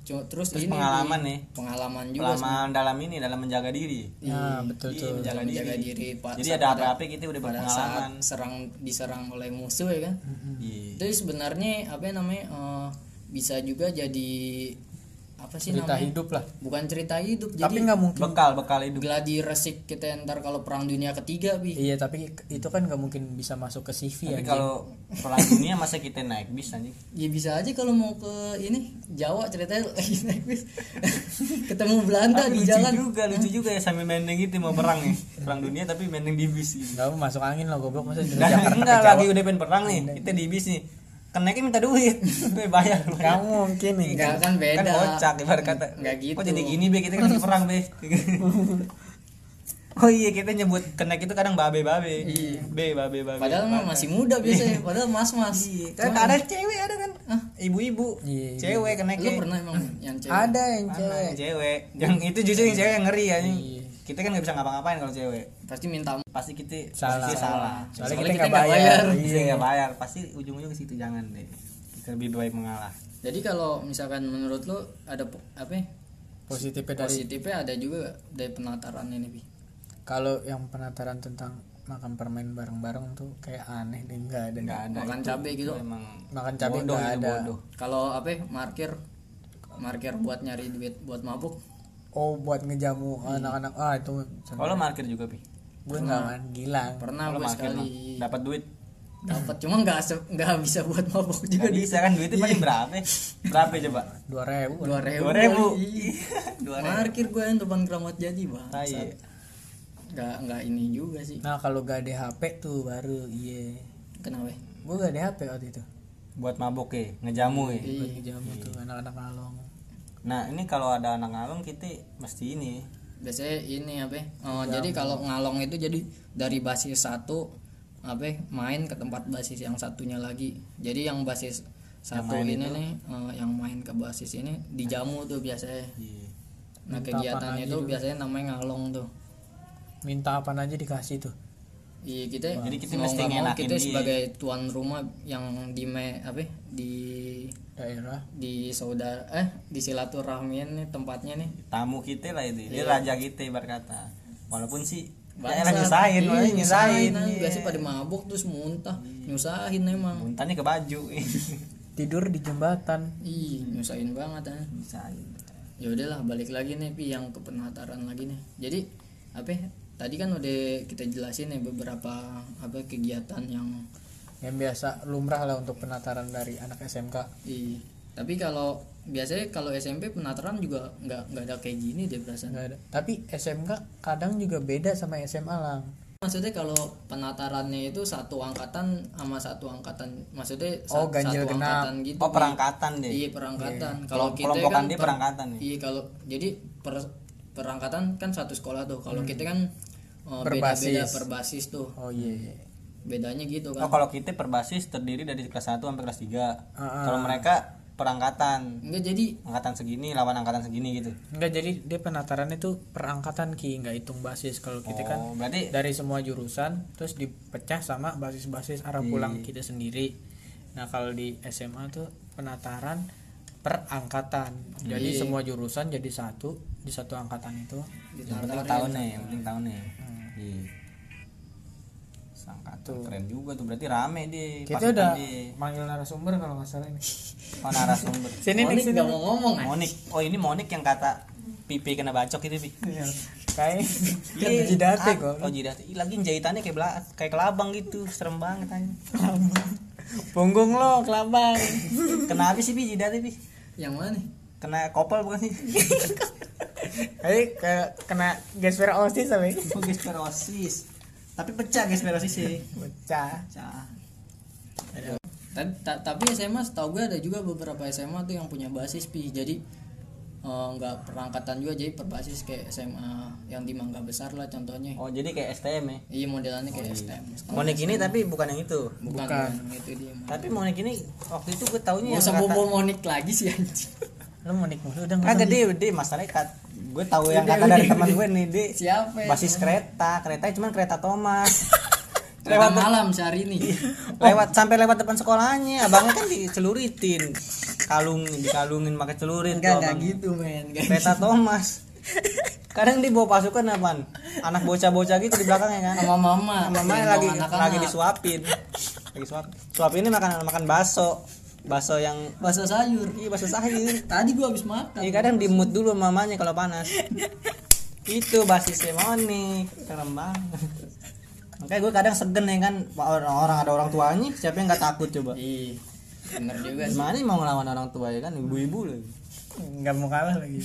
S1: Cu- terus, ini
S3: Terus pengalaman nih.
S1: pengalaman juga
S3: Pengalaman dalam ini dalam menjaga diri.
S2: nah betul
S3: Iya,
S2: tuh
S3: menjaga diri.
S1: menjaga diri Pak.
S3: Jadi ada apa-apa kita udah
S1: pada
S3: berpengalaman.
S1: saat serang diserang oleh musuh ya kan
S3: Iya.
S1: itu sebenarnya apa namanya eh, bisa juga jadi apa sih
S2: cerita
S1: namanya
S2: hidup lah
S1: bukan cerita hidup
S2: tapi
S1: Iya. jadi
S2: nggak mungkin
S3: Bekal bekal hidup.
S1: gladi resik kita ntar kalau perang dunia ketiga bi
S2: iya tapi itu kan nggak mungkin bisa masuk ke CV ya
S3: Tapi kalau perang dunia masa kita naik bis anjing.
S1: ya bisa aja kalau mau ke ini Jawa [LAUGHS] ceritanya lagi naik bis ketemu Belanda di
S3: lucu
S1: jalan
S3: juga lucu juga ya sambil mending gitu mau perang nih perang dunia tapi mending di bis gitu.
S2: nggak masuk angin lah goblok masa dari Jakarta
S3: Dan Nah, enggak
S2: ke Jawa?
S3: lagi udah pengen perang nih kita di bis nih kenaiknya minta duit [LAUGHS] gue bayar
S2: nggak mungkin nih
S1: Enggak, kan beda
S3: kan kocak ibarat kata
S1: Enggak gitu.
S3: kok jadi gini be kita kan lagi perang be [LAUGHS] oh iya kita nyebut kenaik itu kadang babe babe be babe babe
S1: padahal mah masih muda biasanya padahal mas-mas
S3: kan ada cewek ada kan ibu-ibu
S2: Iya, iya.
S3: cewek
S1: lu
S3: kenaiknya
S1: pernah emang yang cewek
S2: ada yang
S3: Mana
S2: cewek
S3: yang cewek yang itu justru yang cewek yang ngeri ya kita kan nggak bisa ngapa-ngapain kalau cewek
S1: pasti minta
S3: pasti kita
S2: Salah.
S3: posisinya salah
S2: soalnya
S1: Soalnya kita
S2: kita nggak
S1: nggak
S2: bayar
S1: bayar.
S3: Iya nggak bayar, pasti ujung-ujung ke situ jangan deh. Kita lebih baik mengalah.
S1: Jadi kalau misalkan menurut lo ada po- apa ya?
S2: positifnya dari
S1: positifnya ada juga dari penataran ini bi.
S2: kalau yang penataran tentang makan permen bareng-bareng tuh kayak aneh deh nggak ada
S3: Nggak ada.
S1: Makan cabai gitu.
S3: Itu emang
S2: makan cabai
S3: bodoh
S2: nggak
S3: itu
S2: ada
S3: bodoh.
S1: Kalau apa ya, markir markir buat nyari duit buat mabuk.
S2: oh buat ngejamu
S3: Iya.
S2: anak-anak ah itu
S3: Kalau markir juga pi.
S2: gue nggak main gila
S1: Pernah
S3: Kalau
S1: gue
S3: markir mah
S1: sekali
S3: dapat duit.
S1: dapat cuma nggak se- nggak bisa buat mabuk juga
S3: Gak
S1: di
S3: bisa kan duitnya paling berapa? Berapa coba?
S2: dua ribu
S1: dua ribu.
S3: Dua ribu.
S1: iya.
S3: Iya. Dua ribu. Iya.
S1: Markir gue yang depan keramat jadi bang.
S3: Tai.
S1: Nggak nggak ini juga sih.
S2: nah kalau gak ada HP tuh baru iya
S1: Kenapa? ya?
S2: gue gak ada HP waktu itu
S3: Buat mabok ya, ngejamu ya.
S2: buat ngejamu tuh anak-anak ngalong
S3: Nah ini kalau ada anak ngalung kita mesti ini.
S1: biasanya ini apa ya, eh, jadi kalau ngalong itu jadi dari basis satu apa ya, main ke tempat basis yang satunya lagi jadi yang basis satu ini nih eh, yang main ke basis ini dijamu tuh biasanya
S3: Iya.
S1: nah kegiatan itu biasanya namanya ngalong tuh
S2: minta apa aja dikasih tuh
S1: Iya kita
S3: Jadi kita
S1: mau
S3: mesti
S1: nggak mau
S3: ngenakin
S1: kita
S3: dia.
S1: sebagai tuan rumah yang di me, apa ya, di
S2: daerah
S1: di saudara eh di silaturahmian nih tempatnya nih
S3: Tamu kita lah itu. Dia raja kita berkata. Walaupun sih ya elah
S1: Bangsat.
S3: nyusahin,
S1: Iya,
S3: makanya nyusahin.
S1: nyusahin,
S3: Iya.
S1: biasanya pada mabuk terus muntah nyusahin emang
S3: Muntahnya ke baju. [LAUGHS]
S2: tidur di jembatan
S1: Ih, nyusahin banget ah.
S3: Nyusahin.
S1: Ya udahlah balik lagi nih Pi yang ke penataran lagi nih. Jadi apa ya, tadi kan udah kita jelasin ya beberapa apa kegiatan yang
S2: yang biasa lumrah lah untuk penataran dari anak SMK
S1: di tapi kalau biasanya kalau SMP penataran juga nggak nggak ada kayak gini deh perasaan
S2: nggak ada tapi SMK kadang juga beda sama SMA lang
S1: maksudnya kalau penatarannya itu satu angkatan sama satu angkatan maksudnya sa-
S2: Oh, ganjil
S1: satu
S2: genap.
S1: angkatan gitu
S3: Oh
S1: Bi.
S3: perangkatan deh.
S1: iya perangkatan kalau
S3: Kelom-
S1: kita
S3: kelompokan
S1: kan
S3: dia
S1: per-
S3: perangkatan ya?
S1: iya kalau jadi per- perangkatan kan satu sekolah tuh kalau kita kan eh, beda-beda
S2: Berbasis.
S1: perbasis tuh
S2: oh iya iya.
S1: bedanya gitu
S3: Oh
S1: kan
S3: kalau kita berbasis terdiri dari kelas 1 sampai kelas 3.
S2: Ah,
S3: Kalau mereka perangkatan,
S1: enggak jadi
S3: angkatan segini lawan angkatan segini gitu.
S2: nggak jadi dia penataran itu perangkatan ki nggak hitung basis kalau kita kan
S3: Oh, berarti
S2: dari semua jurusan terus dipecah sama basis-basis arah pulang kita sendiri nah kalau di SMA tuh penataran per angkatan jadi semua jurusan jadi satu di satu angkatan itu
S3: yang penting
S2: ya.
S3: tahunnya, yang penting tahunnya.
S2: Hmm.
S3: Iya. Sangkatan keren juga tuh berarti rame deh.
S2: kita
S3: pasukan
S2: udah
S3: deh.
S2: manggil narasumber kalau nggak salah ini
S3: Oh narasumber.
S2: [LAUGHS] sini nih
S1: Monik
S2: sini
S1: nggak mau ngomong kan
S3: Monik. Oh ini Monik yang kata pipi kena bacok itu Pi.
S2: Iya. kayak
S3: Iya,
S2: jidate
S3: ah,
S2: kok
S3: Oh jidate. Ih, Lagi jahitannya kayak bela kayak kelabang gitu, serem banget anjing.
S2: punggung lo kelabang
S3: Kenapa sih Pi jidate Pi?
S1: yang mana nih
S3: Kena kopel bukan sih?
S2: kayak ke- kena gesper osis ya? sampai
S3: [LAUGHS] Oh gesperosis. Tapi pecah gesperosis sih.
S2: pecah
S3: Pecah.
S1: Ta- ta- tapi SMA setahu gue ada juga beberapa SMA tuh yang punya basis pi jadi eh, nggak perangkatan juga jadi perbasis kayak SMA yang di Mangga Besar lah contohnya
S3: Oh jadi kayak STM ya.
S1: iya modelannya kayak STM setahu
S3: Monik ini tapi bukan yang itu.
S1: gue. bukan, bukan. itu dia Monik.
S3: Tapi Monik ini waktu itu gue taunya
S1: Gak
S3: yang
S1: usah
S3: kata
S1: bobo monik lagi sih anjing [LAUGHS]
S2: lo mau nikmat udah nggak
S3: Kagak gede gede masyarakat. Gue tahu yang kata dari teman gue nih, [LAUGHS] Dek.
S1: Siapa ya?
S3: Basis kereta, keretanya cuman kereta [LAUGHS] Thomas.
S1: lewat malam sehari ini
S3: lewat sampai lewat depan sekolahnya abangnya kan diceluritin kalung dikalungin pakai celurit tuh abang.
S1: gitu men Nggak
S3: kereta [LAUGHS] Thomas kadang dibawa pasukan apaan anak bocah-bocah gitu di belakangnya kan
S1: sama mama
S3: mama
S1: Gendong
S3: lagi
S1: anak-anak.
S3: lagi disuapin lagi suap suapin ini makan makan bakso bakso yang
S1: bakso sayur
S3: iya bakso sayur
S1: tadi gue habis makan
S3: iya kadang dimut dulu mamanya kalau panas itu basis Monik serem banget makanya gue kadang segen ya kan orang-orang ada orang tuanya siapa yang nggak takut coba
S1: iya bener juga sih
S3: Gimana mau ngelawan orang tua ya kan ibu-ibu lagi.
S2: nggak mau kalah lagi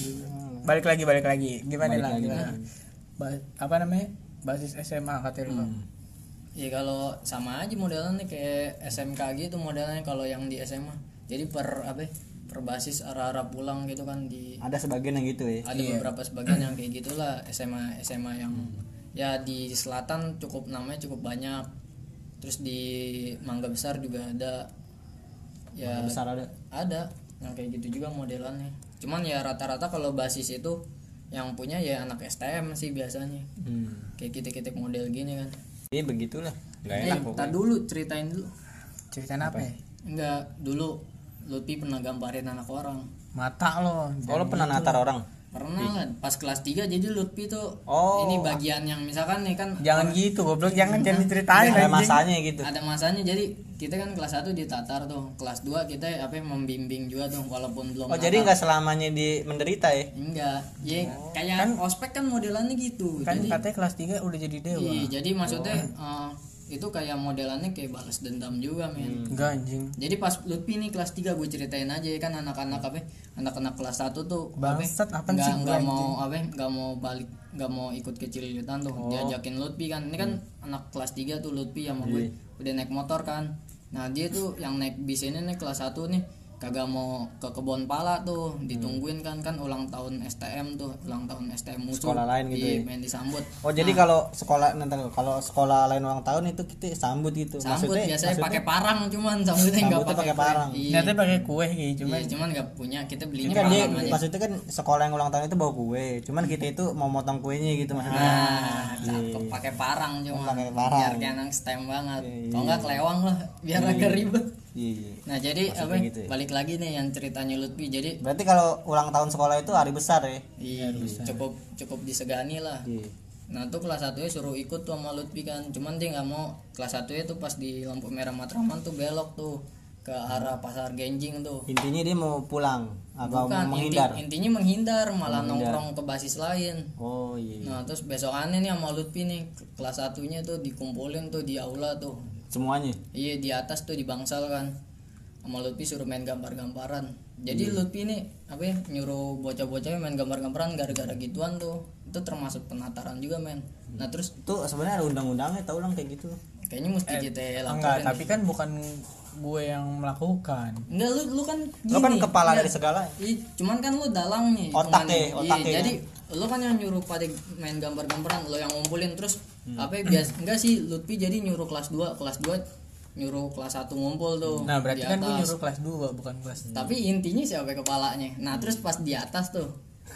S2: balik lagi balik lagi gimana
S3: Balik
S2: lah
S3: lagi,
S2: gimana? Ba- apa namanya basis SMA katanya lo
S1: Ya kalau sama aja modelnya kayak SMK gitu modelnya kalau yang di SMA. Jadi per apa? ya, Per basis arah-arah pulang gitu kan di
S3: Ada sebagian yang gitu ya.
S1: ada beberapa sebagian yang kayak gitulah SMA SMA yang ya di selatan cukup namanya cukup banyak. Terus di Mangga Besar juga ada. Ya
S3: Besar ada.
S1: ada yang kayak gitu juga modelannya. Cuman ya rata-rata kalau basis itu yang punya ya anak STM sih biasanya.
S3: Hmm.
S1: Kayak kitik-kitik model gini kan.
S3: Ini Iya, begitulah. Gak
S1: Eh, tar dulu ceritain dulu.
S2: ceritain apa, ya?
S1: Enggak, dulu Lutfi pernah gamparin anak orang.
S2: mata lo
S3: Oh, lo pernah natar orang?
S1: Pernah kan? Pas kelas 3 jadi Lutfi tuh
S3: Oh. Ya,
S1: ini bagian yang misalkan nih kan
S2: jangan gitu goblok jangan jangan diceritain
S3: Ada
S2: anjing.
S3: masanya gitu.
S1: ada masanya jadi kita kan kelas 1 di Tatar tuh, kelas 2 kita apa membimbing juga tuh walaupun belum
S3: Oh, jadi nggak Oh. selamanya di menderita ya?
S1: enggak. Ya kayak ospek kan modelannya gitu.
S2: kan
S1: jadi
S2: katanya kelas 3 udah jadi dewa
S1: iya, jadi maksudnya eh, itu kayak modelannya kayak balas dendam juga men.
S2: enggak anjing
S1: Jadi pas Lutfi nih kelas 3 gue ceritain aja ya kan anak-anak apa anak-anak kelas 1 tuh
S2: bangsat apa
S1: nggak
S2: sih
S1: nggak mau apa nggak mau balik nggak mau ikut kecil liutan tuh diajakin Lutfi kan ini kan anak kelas 3 tuh Lutfi sama gue udah naik motor kan nah dia tuh yang naik bis ini nih kelas 1 nih kagak mau ke kebon pala tuh ditungguin kan kan ulang tahun STM tuh ulang tahun STM musuh
S3: Sekolah lain gitu
S1: Iya,
S3: ya?
S1: main disambut
S3: Oh, jadi kalau sekolah nanti kalau sekolah lain ulang tahun itu kita sambut gitu.
S1: sambut
S3: maksudnya
S1: biasanya pakai parang cuman
S3: [LAUGHS]
S1: sambutnya nggak
S3: Sambutnya pakai
S1: kue.
S3: parang.
S1: iya
S2: ternyata pakai kue gitu
S1: iya,
S2: cuman
S1: cuman nggak punya kita belinya
S3: kan dia
S1: parang aja
S3: maksudnya kan sekolah yang ulang tahun itu bawa kue. Cuman kita itu mau motong kuenya gitu maksudnya.
S1: Nah, cakep pakai parang cuma
S3: Pakai parang.
S1: biar kayak anak stem banget kalau nggak kelewang lah biar agak ribet
S3: Iya, iya.
S1: nah jadi apa
S3: gitu ya?
S1: balik lagi nih yang ceritanya Lutfi jadi
S3: Berarti kalau ulang tahun sekolah itu hari besar ya?
S1: iya, cukup cukup disegani lah
S3: Iya.
S1: nah tuh kelas satunya suruh ikut tuh sama Lutfi kan cuman dia nggak mau kelas satunya tuh pas di lampu merah Matraman tuh belok tuh ke arah pasar Genjing tuh
S3: intinya dia mau pulang
S1: bukan
S3: atau mau
S1: inti-
S3: menghindar
S1: intinya menghindar malah nongkrong ke basis lain
S3: oh iya
S1: nah terus besokannya nih sama Lutfi nih kelas satunya tuh dikumpulin tuh di aula tuh
S3: semuanya
S1: iya di atas tuh di bangsal kan sama Lutfi suruh main gambar-gambaran
S3: Iya.
S1: jadi Lutfi nih apa ya nyuruh bocah-bocahnya main gambar-gambaran gara-gara gituan tuh itu termasuk penataran juga men nah terus
S3: itu sebenarnya ada undang-undangnya tau lang kayak gitu
S1: kayaknya mesti kita
S2: enggak
S1: laporin
S2: tapi kan bukan gue yang melakukan
S1: Enggak lu lu kan
S3: lo kan
S1: gini.
S3: kepala dari segala
S1: Iya, cuman kan lu dalangnya. cuman-
S3: Otak ya,
S1: iya,
S3: otak ya,
S1: jadi lu kan yang nyuruh pada main gambar-gambaran, lu yang ngumpulin terus
S3: Hmm.
S1: apa ya, bias enggak sih Lutfi jadi nyuruh kelas 2, kelas 2 nyuruh kelas 1 ngumpul tuh.
S2: nah berarti
S1: di
S2: kan gue
S1: atas.
S2: nyuruh kelas 2 bukan kelas
S1: Tapi intinya siapa kepalanya. Nah, terus pas di atas tuh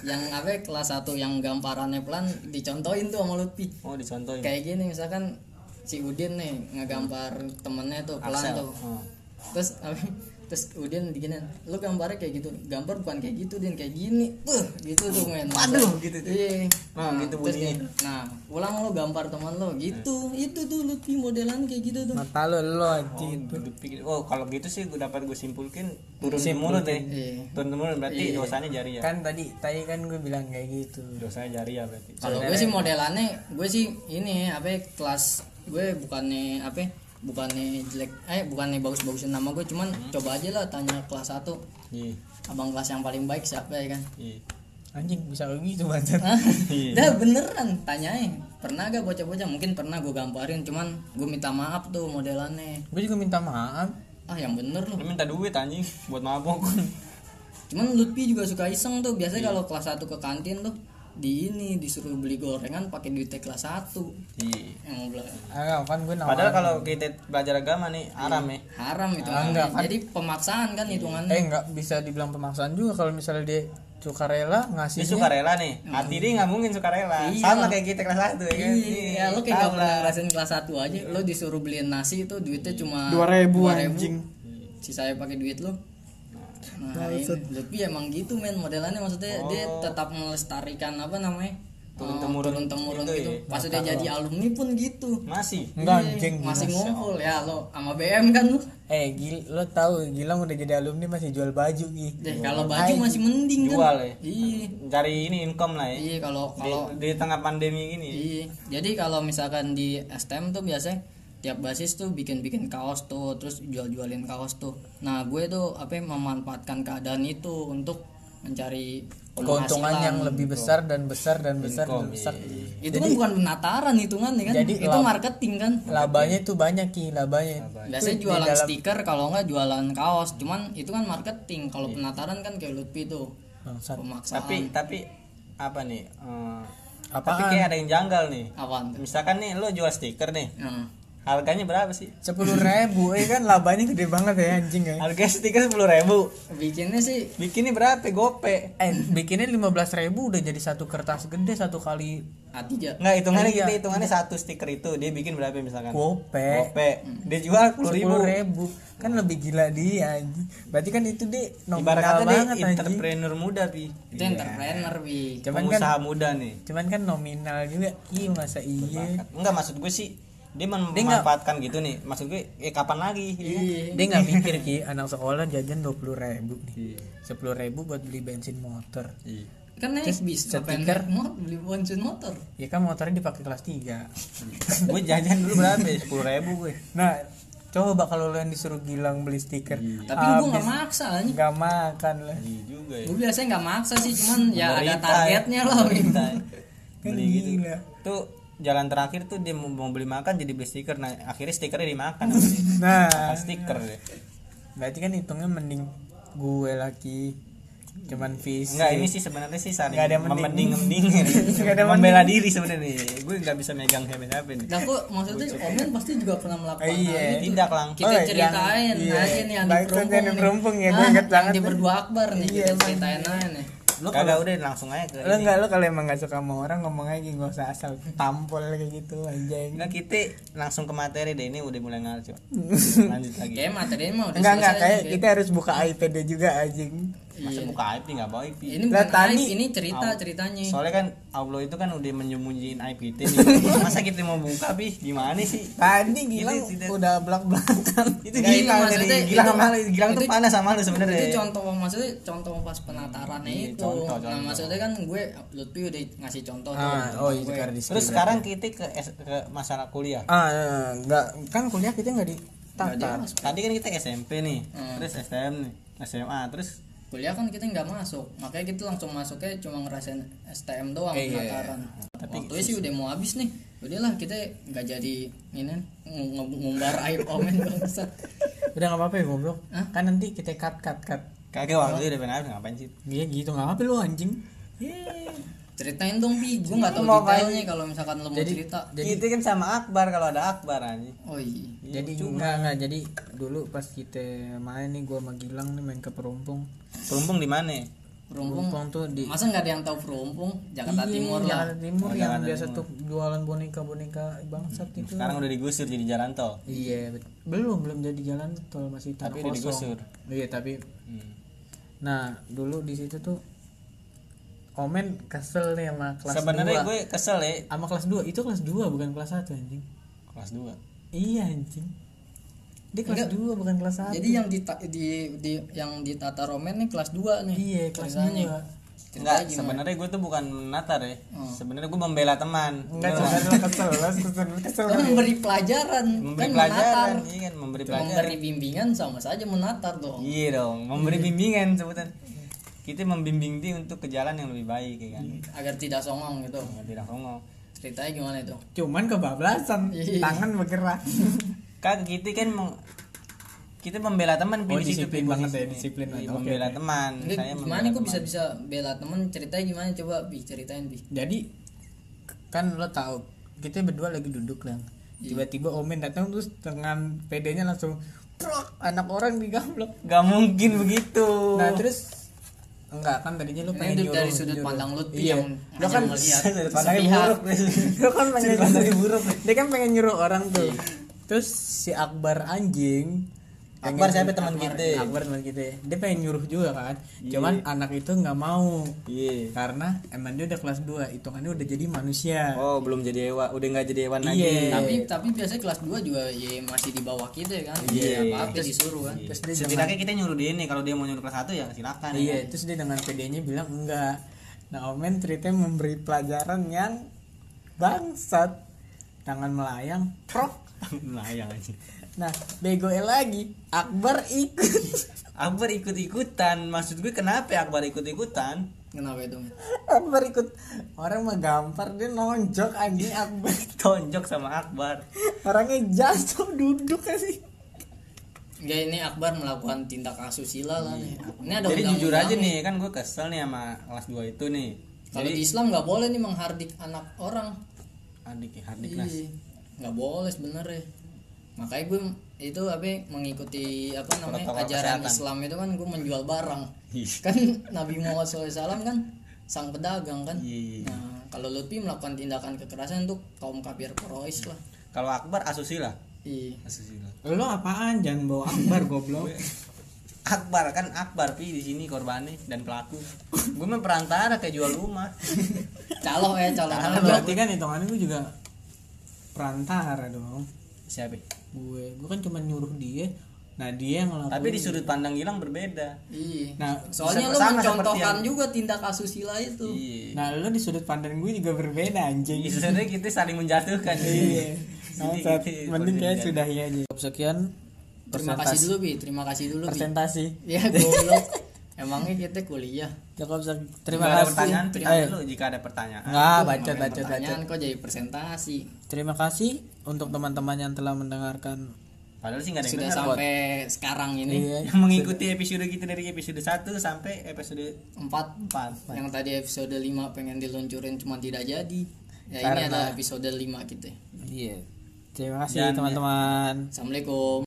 S1: yang apa ya, kelas 1 yang gamparannya pelan dicontohin tuh sama Lutfi.
S3: oh dicontohin
S1: Kayak gini misalkan si Udin nih ngegambar temennya tuh pelan
S3: Axel.
S1: tuh
S3: Oh.
S1: terus apa- terus Udin begini lu gambarnya kayak gitu gambar bukan kayak gitu Din kayak gini tuh gitu tuh men
S3: Waduh, gitu tuh.
S1: iya
S3: Nah, gitu
S1: terus
S3: bunyinya. Iya.
S1: kayak, nah ulang lu gambar teman lu gitu itu tuh Lutfi modelan kayak gitu tuh
S2: mata lo lo anjing
S3: Oh, duduk pikir- oh kalau gitu sih gue dapat gue simpulkin turun temurun deh
S1: Iya.
S3: ya? turun temurun berarti dosanya jari ya
S2: kan tadi tadi kan gue bilang kayak gitu
S3: dosanya jari ya berarti
S1: kalau gue sih modelannya gue sih ini apa ya, kelas gue bukannya apa ya, bukannya jelek eh bukannya bagus-bagusin nama gue cuman coba aja lah tanya kelas 1
S3: iya
S1: abang kelas yang paling baik siapa ya kan
S3: iya
S2: anjing bisa kayak gitu banget
S3: Iya.
S1: Dah beneran tanyain pernah gak bocah-bocah mungkin pernah gue gambarin cuman gue minta maaf tuh modelannya
S2: gue juga minta maaf
S1: ah yang bener
S3: Lu
S1: loh
S3: minta duit anjing buat mabok
S1: cuman Lutfi juga suka iseng tuh biasanya kalau kelas 1 ke kantin tuh di ini disuruh beli gorengan pakai duitnya kelas 1
S3: iya
S1: yang bilang
S2: ah kan gue nawarin
S3: padahal kalau kita belajar agama nih
S1: Iya.
S3: haram ya
S1: haram itu
S2: enggak kan.
S1: jadi pemaksaan kan hitungannya
S2: eh nggak bisa dibilang pemaksaan juga kalau misalnya dia sukarela
S3: dia
S2: ngasihnya
S3: suka rela nih hati dia nggak mungkin suka rela
S1: Iya.
S3: sama kayak kita kelas satu ya kan
S1: Iya, lo kayak
S3: Tahu
S1: gak pernah
S3: lah.
S1: ngerasain kelas 1 aja Lo disuruh beliin nasi itu duitnya cuma
S2: 2.000,
S1: 2.000.
S2: anjing.
S1: Sisanya pakai duit lo Nah, ini Lutfi emang gitu men modelannya maksudnya
S3: Oh.
S1: dia tetap melestarikan apa namanya
S3: Turun
S1: eh,
S3: temurun
S1: turun temurun
S3: gitu
S1: gitu,
S3: ya.
S1: pas udah jadi alumni pun gitu
S3: masih
S2: enggak
S1: Iya,
S2: anjing
S1: masih ngumpul ya lo sama BM kan lo
S2: eh gil lo tahu Gilang udah jadi alumni masih jual baju nih
S1: deh kalau baju masih mending kan
S3: Iya, Jual ya?
S1: iya
S3: cari ini income lah ya
S1: iya kalau
S3: di,
S1: kalau
S3: di tengah pandemi gini
S1: Iya. Jadi kalau misalkan di STM tuh biasanya tiap basis tuh bikin-bikin kaos tuh, terus jual-jualin kaos tuh. Nah, gue tuh apa ya, memanfaatkan keadaan itu untuk mencari
S2: keuntungan
S1: penghasilan.
S2: yang lebih besar dan besar dan besar dan besar
S1: itu kan bukan penataran hitungannya kan.
S2: Jadi
S1: itu
S2: lab-
S1: marketing kan.
S2: labanya tuh banyak ki labanya
S1: Biasanya
S2: Itu di
S1: jualan
S2: dalam-
S1: stiker kalau nggak jualan kaos, cuman itu kan marketing. Kalau
S2: Iya.
S1: penataran kan kayak Lutfi tuh
S2: Bangsat.
S1: pemaksaan.
S3: tapi tapi apa nih eh, tapi
S2: apaan
S3: kayak ada yang janggal nih
S1: Apaan tuh?
S3: misalkan nih lo jual stiker nih
S1: Nah,
S3: harganya berapa sih
S2: sepuluh ribu eh kan labanya gede banget ya anjing
S1: Eh.
S2: ya
S3: harga stiker sepuluh ribu
S1: bikinnya sih
S3: bikinnya berapa gope
S2: eh bikinnya lima belas ribu udah jadi satu kertas gede satu kali
S1: A3.
S3: nggak hitungannya
S2: Iya.
S3: kita hitungannya satu stiker itu dia bikin berapa misalkan
S2: gope
S3: gope dia jual sepuluh ribu
S2: sepuluh ribu kan lebih gila dia anjing berarti kan itu dia
S3: ibarat kata
S2: nominal
S3: dia
S2: banget anjing
S3: entrepreneur muda pi Iya.
S1: Itu
S2: Iya.
S1: entrepreneur, Wi.
S2: cuman kan
S3: pengusaha muda nih
S2: cuman kan nominal juga iya masa iya
S3: enggak maksud gue sih dia
S2: Dia nggak-
S3: memanfaatkan gitu nih maksud gue ya kapan lagi ya kan?
S1: Iya.
S2: dia nggak mikir ki anak sekolah jajan dua puluh ribu nih sepuluh ribu buat beli bensin motor
S3: Iya.
S1: Kan naik bis, ngapain
S2: stiker.
S1: naik mo- beli boncun motor.
S2: ya kan motornya dipakai kelas 3
S3: gue jajan dulu berapa ya? sepuluh ribu gue
S2: nah coba kalau lo yang disuruh Gilang beli stiker
S1: Iya. Tapi
S2: Ah,
S1: gue nggak maksa anjing.
S2: nggak makan lah
S3: iya juga ya
S1: gue biasanya nggak maksa sih cuman ya ada
S3: Pemerintah,
S1: targetnya
S3: ya.
S1: loh gitu.
S3: Pemerintah.
S2: kan
S3: beli gitu
S2: gila
S3: tuh jalan terakhir tuh dia mau, mau beli makan jadi beli stiker nah akhirnya stikernya dimakan
S2: [LAUGHS] nah
S3: makan stiker deh
S2: berarti kan hitungnya mending gue lagi cuman fisik
S3: Enggak, ini sih sebenarnya sih saling
S2: Nggak ada yang mending.
S3: memending
S2: [LAUGHS]
S3: mending
S2: Nggak ada
S3: membela diri sebenarnya. Gue nggak bisa megang HP-HP nih.
S1: nah kok maksudnya Omen pasti juga pernah melakukan
S2: Eh, iya.
S1: hal ini.
S3: Tidak lang.
S1: kita
S2: Oh, yang-
S1: ceritain
S2: iya.
S1: aja nih yang di
S2: Baik,
S1: Perumpung
S2: yang di
S1: nih.
S2: Perumpung ya, gue
S1: Ah,
S2: inget banget
S1: yang di
S2: tuh.
S1: berdua akbar nih
S2: Iya,
S1: kita ceritain aja nih
S3: Lu kagak udah langsung aja ke
S2: lo
S3: ini.
S2: nggak lo kalau emang nggak suka sama orang ngomong aja nggak usah asal tampol kayak gitu anjing
S3: Enggak kita langsung ke materi deh ini udah mulai ngaco. Lanjut lagi.
S1: kayak materinya mah udah
S2: Enggak enggak
S1: selesai
S2: kayak gitu.
S1: nih,
S2: kita harus buka iPad juga anjing.
S1: kayak-
S3: masa buka aib nih nggak bawa aib
S1: ini bukan
S2: Lah,
S1: aib,
S2: tadi-
S1: ini cerita
S3: Au.
S1: ceritanya
S3: soalnya kan Allah itu kan udah menyembunyiin aib kita nih masa kita mau buka bi gimana sih
S2: Tadi Gilang
S3: Ini tidak-
S2: udah belak [LAUGHS] belakan.
S3: itu
S1: Nggak,
S3: Gilang
S1: itu
S3: tadi
S1: maksudnya
S3: Gilang
S1: itu-
S3: sama lu Gilang tuh
S1: itu-
S3: panas sama lu sebenarnya
S1: itu contoh maksudnya contoh pas penatarannya
S3: Iya,
S1: itu
S3: contoh,
S1: nah
S3: contoh.
S1: maksudnya kan gue Lutfi udah ngasih contoh
S2: Ah,
S1: tuh
S2: oh
S1: tentang
S2: itu
S1: gue.
S2: karena di
S3: terus sekarang kita ke, S- ke masalah kuliah
S2: ah nggak kan kuliah kita nggak
S1: Nggak dia
S2: ditatar
S1: masuk.
S3: tadi kan kita SMP nih
S1: Hmm.
S3: terus STM nih SMA terus
S1: kuliah kan kita nggak masuk makanya kita langsung masuknya cuma ngerasain STM doang
S2: Eh, iya,
S1: penataran
S3: Tapi
S1: waktunya sih udah mau habis nih udahlah kita nggak jadi ini nge- nge- ngumbar aib omen bangsat
S2: udah nggak apa-apa ya goblok
S1: Hah?
S2: kan nanti kita cut cut cut
S3: kagak waktu itu udah benar ngapain sih
S2: Iya gitu nggak apa-apa lu anjing
S1: ceritain dong pi gue nggak tahu
S3: Mau ngapain?
S1: detailnya kalau misalkan lo mau cerita
S2: jadi
S3: kita kan sama Akbar kalau ada Akbar anjing
S1: oh iya
S2: jadi enggak enggak jadi dulu pas kita main nih gua sama Gilang nih main ke Perumpung
S3: Perumpung di mana
S1: perumpung
S2: Perumpung tuh di
S1: masa nggak ada yang tahu perumpung Jakarta
S2: Iya,
S1: Timur lah
S2: Jakarta Timur
S3: Oh,
S2: yang
S3: Jakarta
S2: biasa tuh jualan boneka boneka bangsat itu
S3: sekarang udah digusur jadi jalan tol
S2: iya bet- belum belum jadi jalan tol masih tanah
S3: Tapi udah digusur.
S2: kosong iya tapi
S3: Hmm.
S2: nah dulu di situ tuh Omen kesel nih sama kelas
S3: sebenarnya
S2: 2
S3: gue kesel ya
S2: sama kelas 2 itu kelas 2 bukan kelas 1 anjing
S3: kelas 2
S2: iya anjing dia kelas
S1: Enggak.
S2: 2 bukan kelas 1
S1: jadi yang di, di, di yang di tata romen nih kelas 2 nih
S2: iya kelas
S1: ceritanya.
S2: 2
S1: Ceritanya
S3: Enggak, sebenarnya gue tuh bukan menatar ya. Sebenarnya gue membela teman. Iya.
S2: Enggak,
S3: Bener
S2: sebenarnya kesel, kesel, kesel.
S1: Kan memberi pelajaran
S3: nggak? memberi
S1: kan
S3: pelajaran,
S1: menatar
S3: iya kan, memberi pelajaran.
S1: memberi bimbingan sama saja menatar dong
S3: Iya dong, memberi bimbingan sebutan. Kita membimbing dia untuk ke jalan yang lebih baik ya kan.
S1: agar tidak songong gitu
S3: Nggak Tidak songong.
S1: ceritanya gimana itu
S3: Hmm,
S2: Cuman kebablasan, tangan bergerak.
S3: Kak, kita kan meng- kita membela teman
S2: Oh,
S3: Pi, di situ,
S2: disiplin
S3: Pi,
S2: banget
S3: posisinya.
S2: ya, disiplin
S3: Iya,
S2: banget. Oke,
S3: membela
S2: oke.
S3: teman.
S1: Ini
S3: Saya
S1: gimana
S3: membela
S1: kok bisa
S3: teman.
S1: bisa bela temen ceritanya gimana coba bi ceritain bi
S2: Jadi kan lo tahu kita berdua lagi duduk lah. Tiba-tiba Omen datang terus dengan pedenya langsung "Prok!" anak orang digablok.
S3: Gak mungkin begitu.
S2: Nah, terus enggak kan tadinya lo
S1: ini
S2: pengen
S1: dari
S2: nyuruh,
S1: sudut
S2: nyuruh.
S1: pandang lu
S2: Iya.
S1: yang
S2: Lo kan [LAUGHS]
S1: melihat
S3: Sudut pandangnya
S1: sepihak.
S3: buruk.
S2: Lo kan pengen
S3: Sudut pandangnya buruk.
S2: Dia kan pengen nyuruh orang tuh. Terus si Akbar anjing
S3: Akbar
S2: pengen-
S3: siapa teman
S2: Akbar-
S3: kita?
S2: Akbar teman kita. Dia pengen nyuruh juga kan. Cuman anak itu nggak mau.
S3: Iya.
S2: Karena emang dia udah kelas 2, hitungannya udah jadi manusia.
S3: Oh, belum jadi hewan, udah nggak jadi hewan lagi.
S2: Iya.
S1: tapi tapi biasanya kelas 2 juga ya masih di bawah kita kan
S3: Iya.
S1: apa apa disuruh kan
S2: Terus dia dengan,
S3: Setidaknya kita nyuruh dia nih kalau dia mau nyuruh kelas 1 ya silakan.
S2: iya,
S3: [LAUGHS]
S2: terus dia dengan PD-nya bilang enggak. Nah, Omen ceritanya memberi pelajaran yang bangsat. Tangan melayang, prok.
S3: Melayang aja.
S2: Nah, bego lagi, Akbar ikut. [LAUGHS]
S3: Akbar ikut-ikutan. Maksud gue kenapa ya Akbar ikut-ikutan? [LAUGHS]
S1: kenapa itu Men?
S2: Akbar ikut orang mah gampar dia nonjok anjing Akbar [LAUGHS]
S3: Tonjok sama Akbar.
S2: orangnya jatuh duduk kan sih
S1: Enggak ini Akbar melakukan tindak asusila lah nih. Ini ada
S3: Iya. Jadi
S1: undang-undang
S3: jujur aja nih, kan gue kesel nih sama kelas 2 itu nih.
S1: Kalau di Islam nggak boleh nih menghardik anak orang.
S3: Adik ya, adik lah.
S1: Iya. Nggak boleh sebenarnya. Makanya gue itu apa ya, mengikuti apa namanya
S3: Protokol
S1: ajaran
S3: kesehatan.
S1: Islam itu kan gue menjual barang.
S3: Iya.
S1: kan Nabi Muhammad SAW kan sang pedagang kan.
S3: Iya, iya.
S1: Nah kalau Lutfi melakukan tindakan kekerasan untuk kaum kafir Quraisy lah.
S3: Kalau Akbar asusila.
S1: Iya.
S3: Asusila.
S2: lo apaan jangan bawa Akbar goblok
S3: Akbar kan Akbar pi di sini korbannya dan pelaku. gue mah perantara kayak jual rumah. [LAUGHS]
S1: Caloh ya caloh.
S2: karena berarti kan hitungannya gue juga perantara dong
S3: Siapa?
S2: gue gue kan cuma nyuruh dia nah dia yang ngelakuin
S3: Tapi di sudut pandang Gilang berbeda.
S1: Iya.
S2: nah
S1: Soalnya
S3: Sama-
S1: lo
S3: sama
S1: mencontohkan
S3: seperti
S1: juga tindak asusila itu.
S3: Iya.
S2: nah lo di sudut pandang gue juga berbeda anjing [LAUGHS]
S3: Jadi sebenarnya kita saling menjatuhkan. gitu.
S2: iya
S3: Jadi gitu.
S2: Bangsat.
S3: kita-
S2: mending
S3: iya.
S2: kayak sudah ya aja sekian
S1: Terima kasih dulu Bi, terima kasih dulu Bi.
S2: presentasi
S1: Ya goblok. Emangnya kita kuliah?
S2: cukup sek- terima
S3: Terima ada
S2: kasih
S3: pertanyaan,
S2: Eh,
S3: teriak dulu jika ada pertanyaan.
S2: Enggak, baca
S1: Ngapain
S2: baca baca.
S1: pertanyaan kok jadi presentasi.
S2: Terima kasih untuk teman-teman yang telah mendengarkan.
S3: Padahal sih nggak ada yang
S1: Sudah
S3: dengar.
S1: sampai sekarang ini
S2: Nah, Iya.
S3: yang [LAUGHS] mengikuti episode kita dari episode 1 sampai episode
S1: empat
S3: 4
S1: yang tadi episode 5 pengen diluncurin cuma tidak jadi. Ya ini
S2: Karena-
S1: adalah episode 5 kita.
S2: Iya. Terima
S3: Dan- ya.
S2: kasih teman-teman.
S1: Assalamualaikum.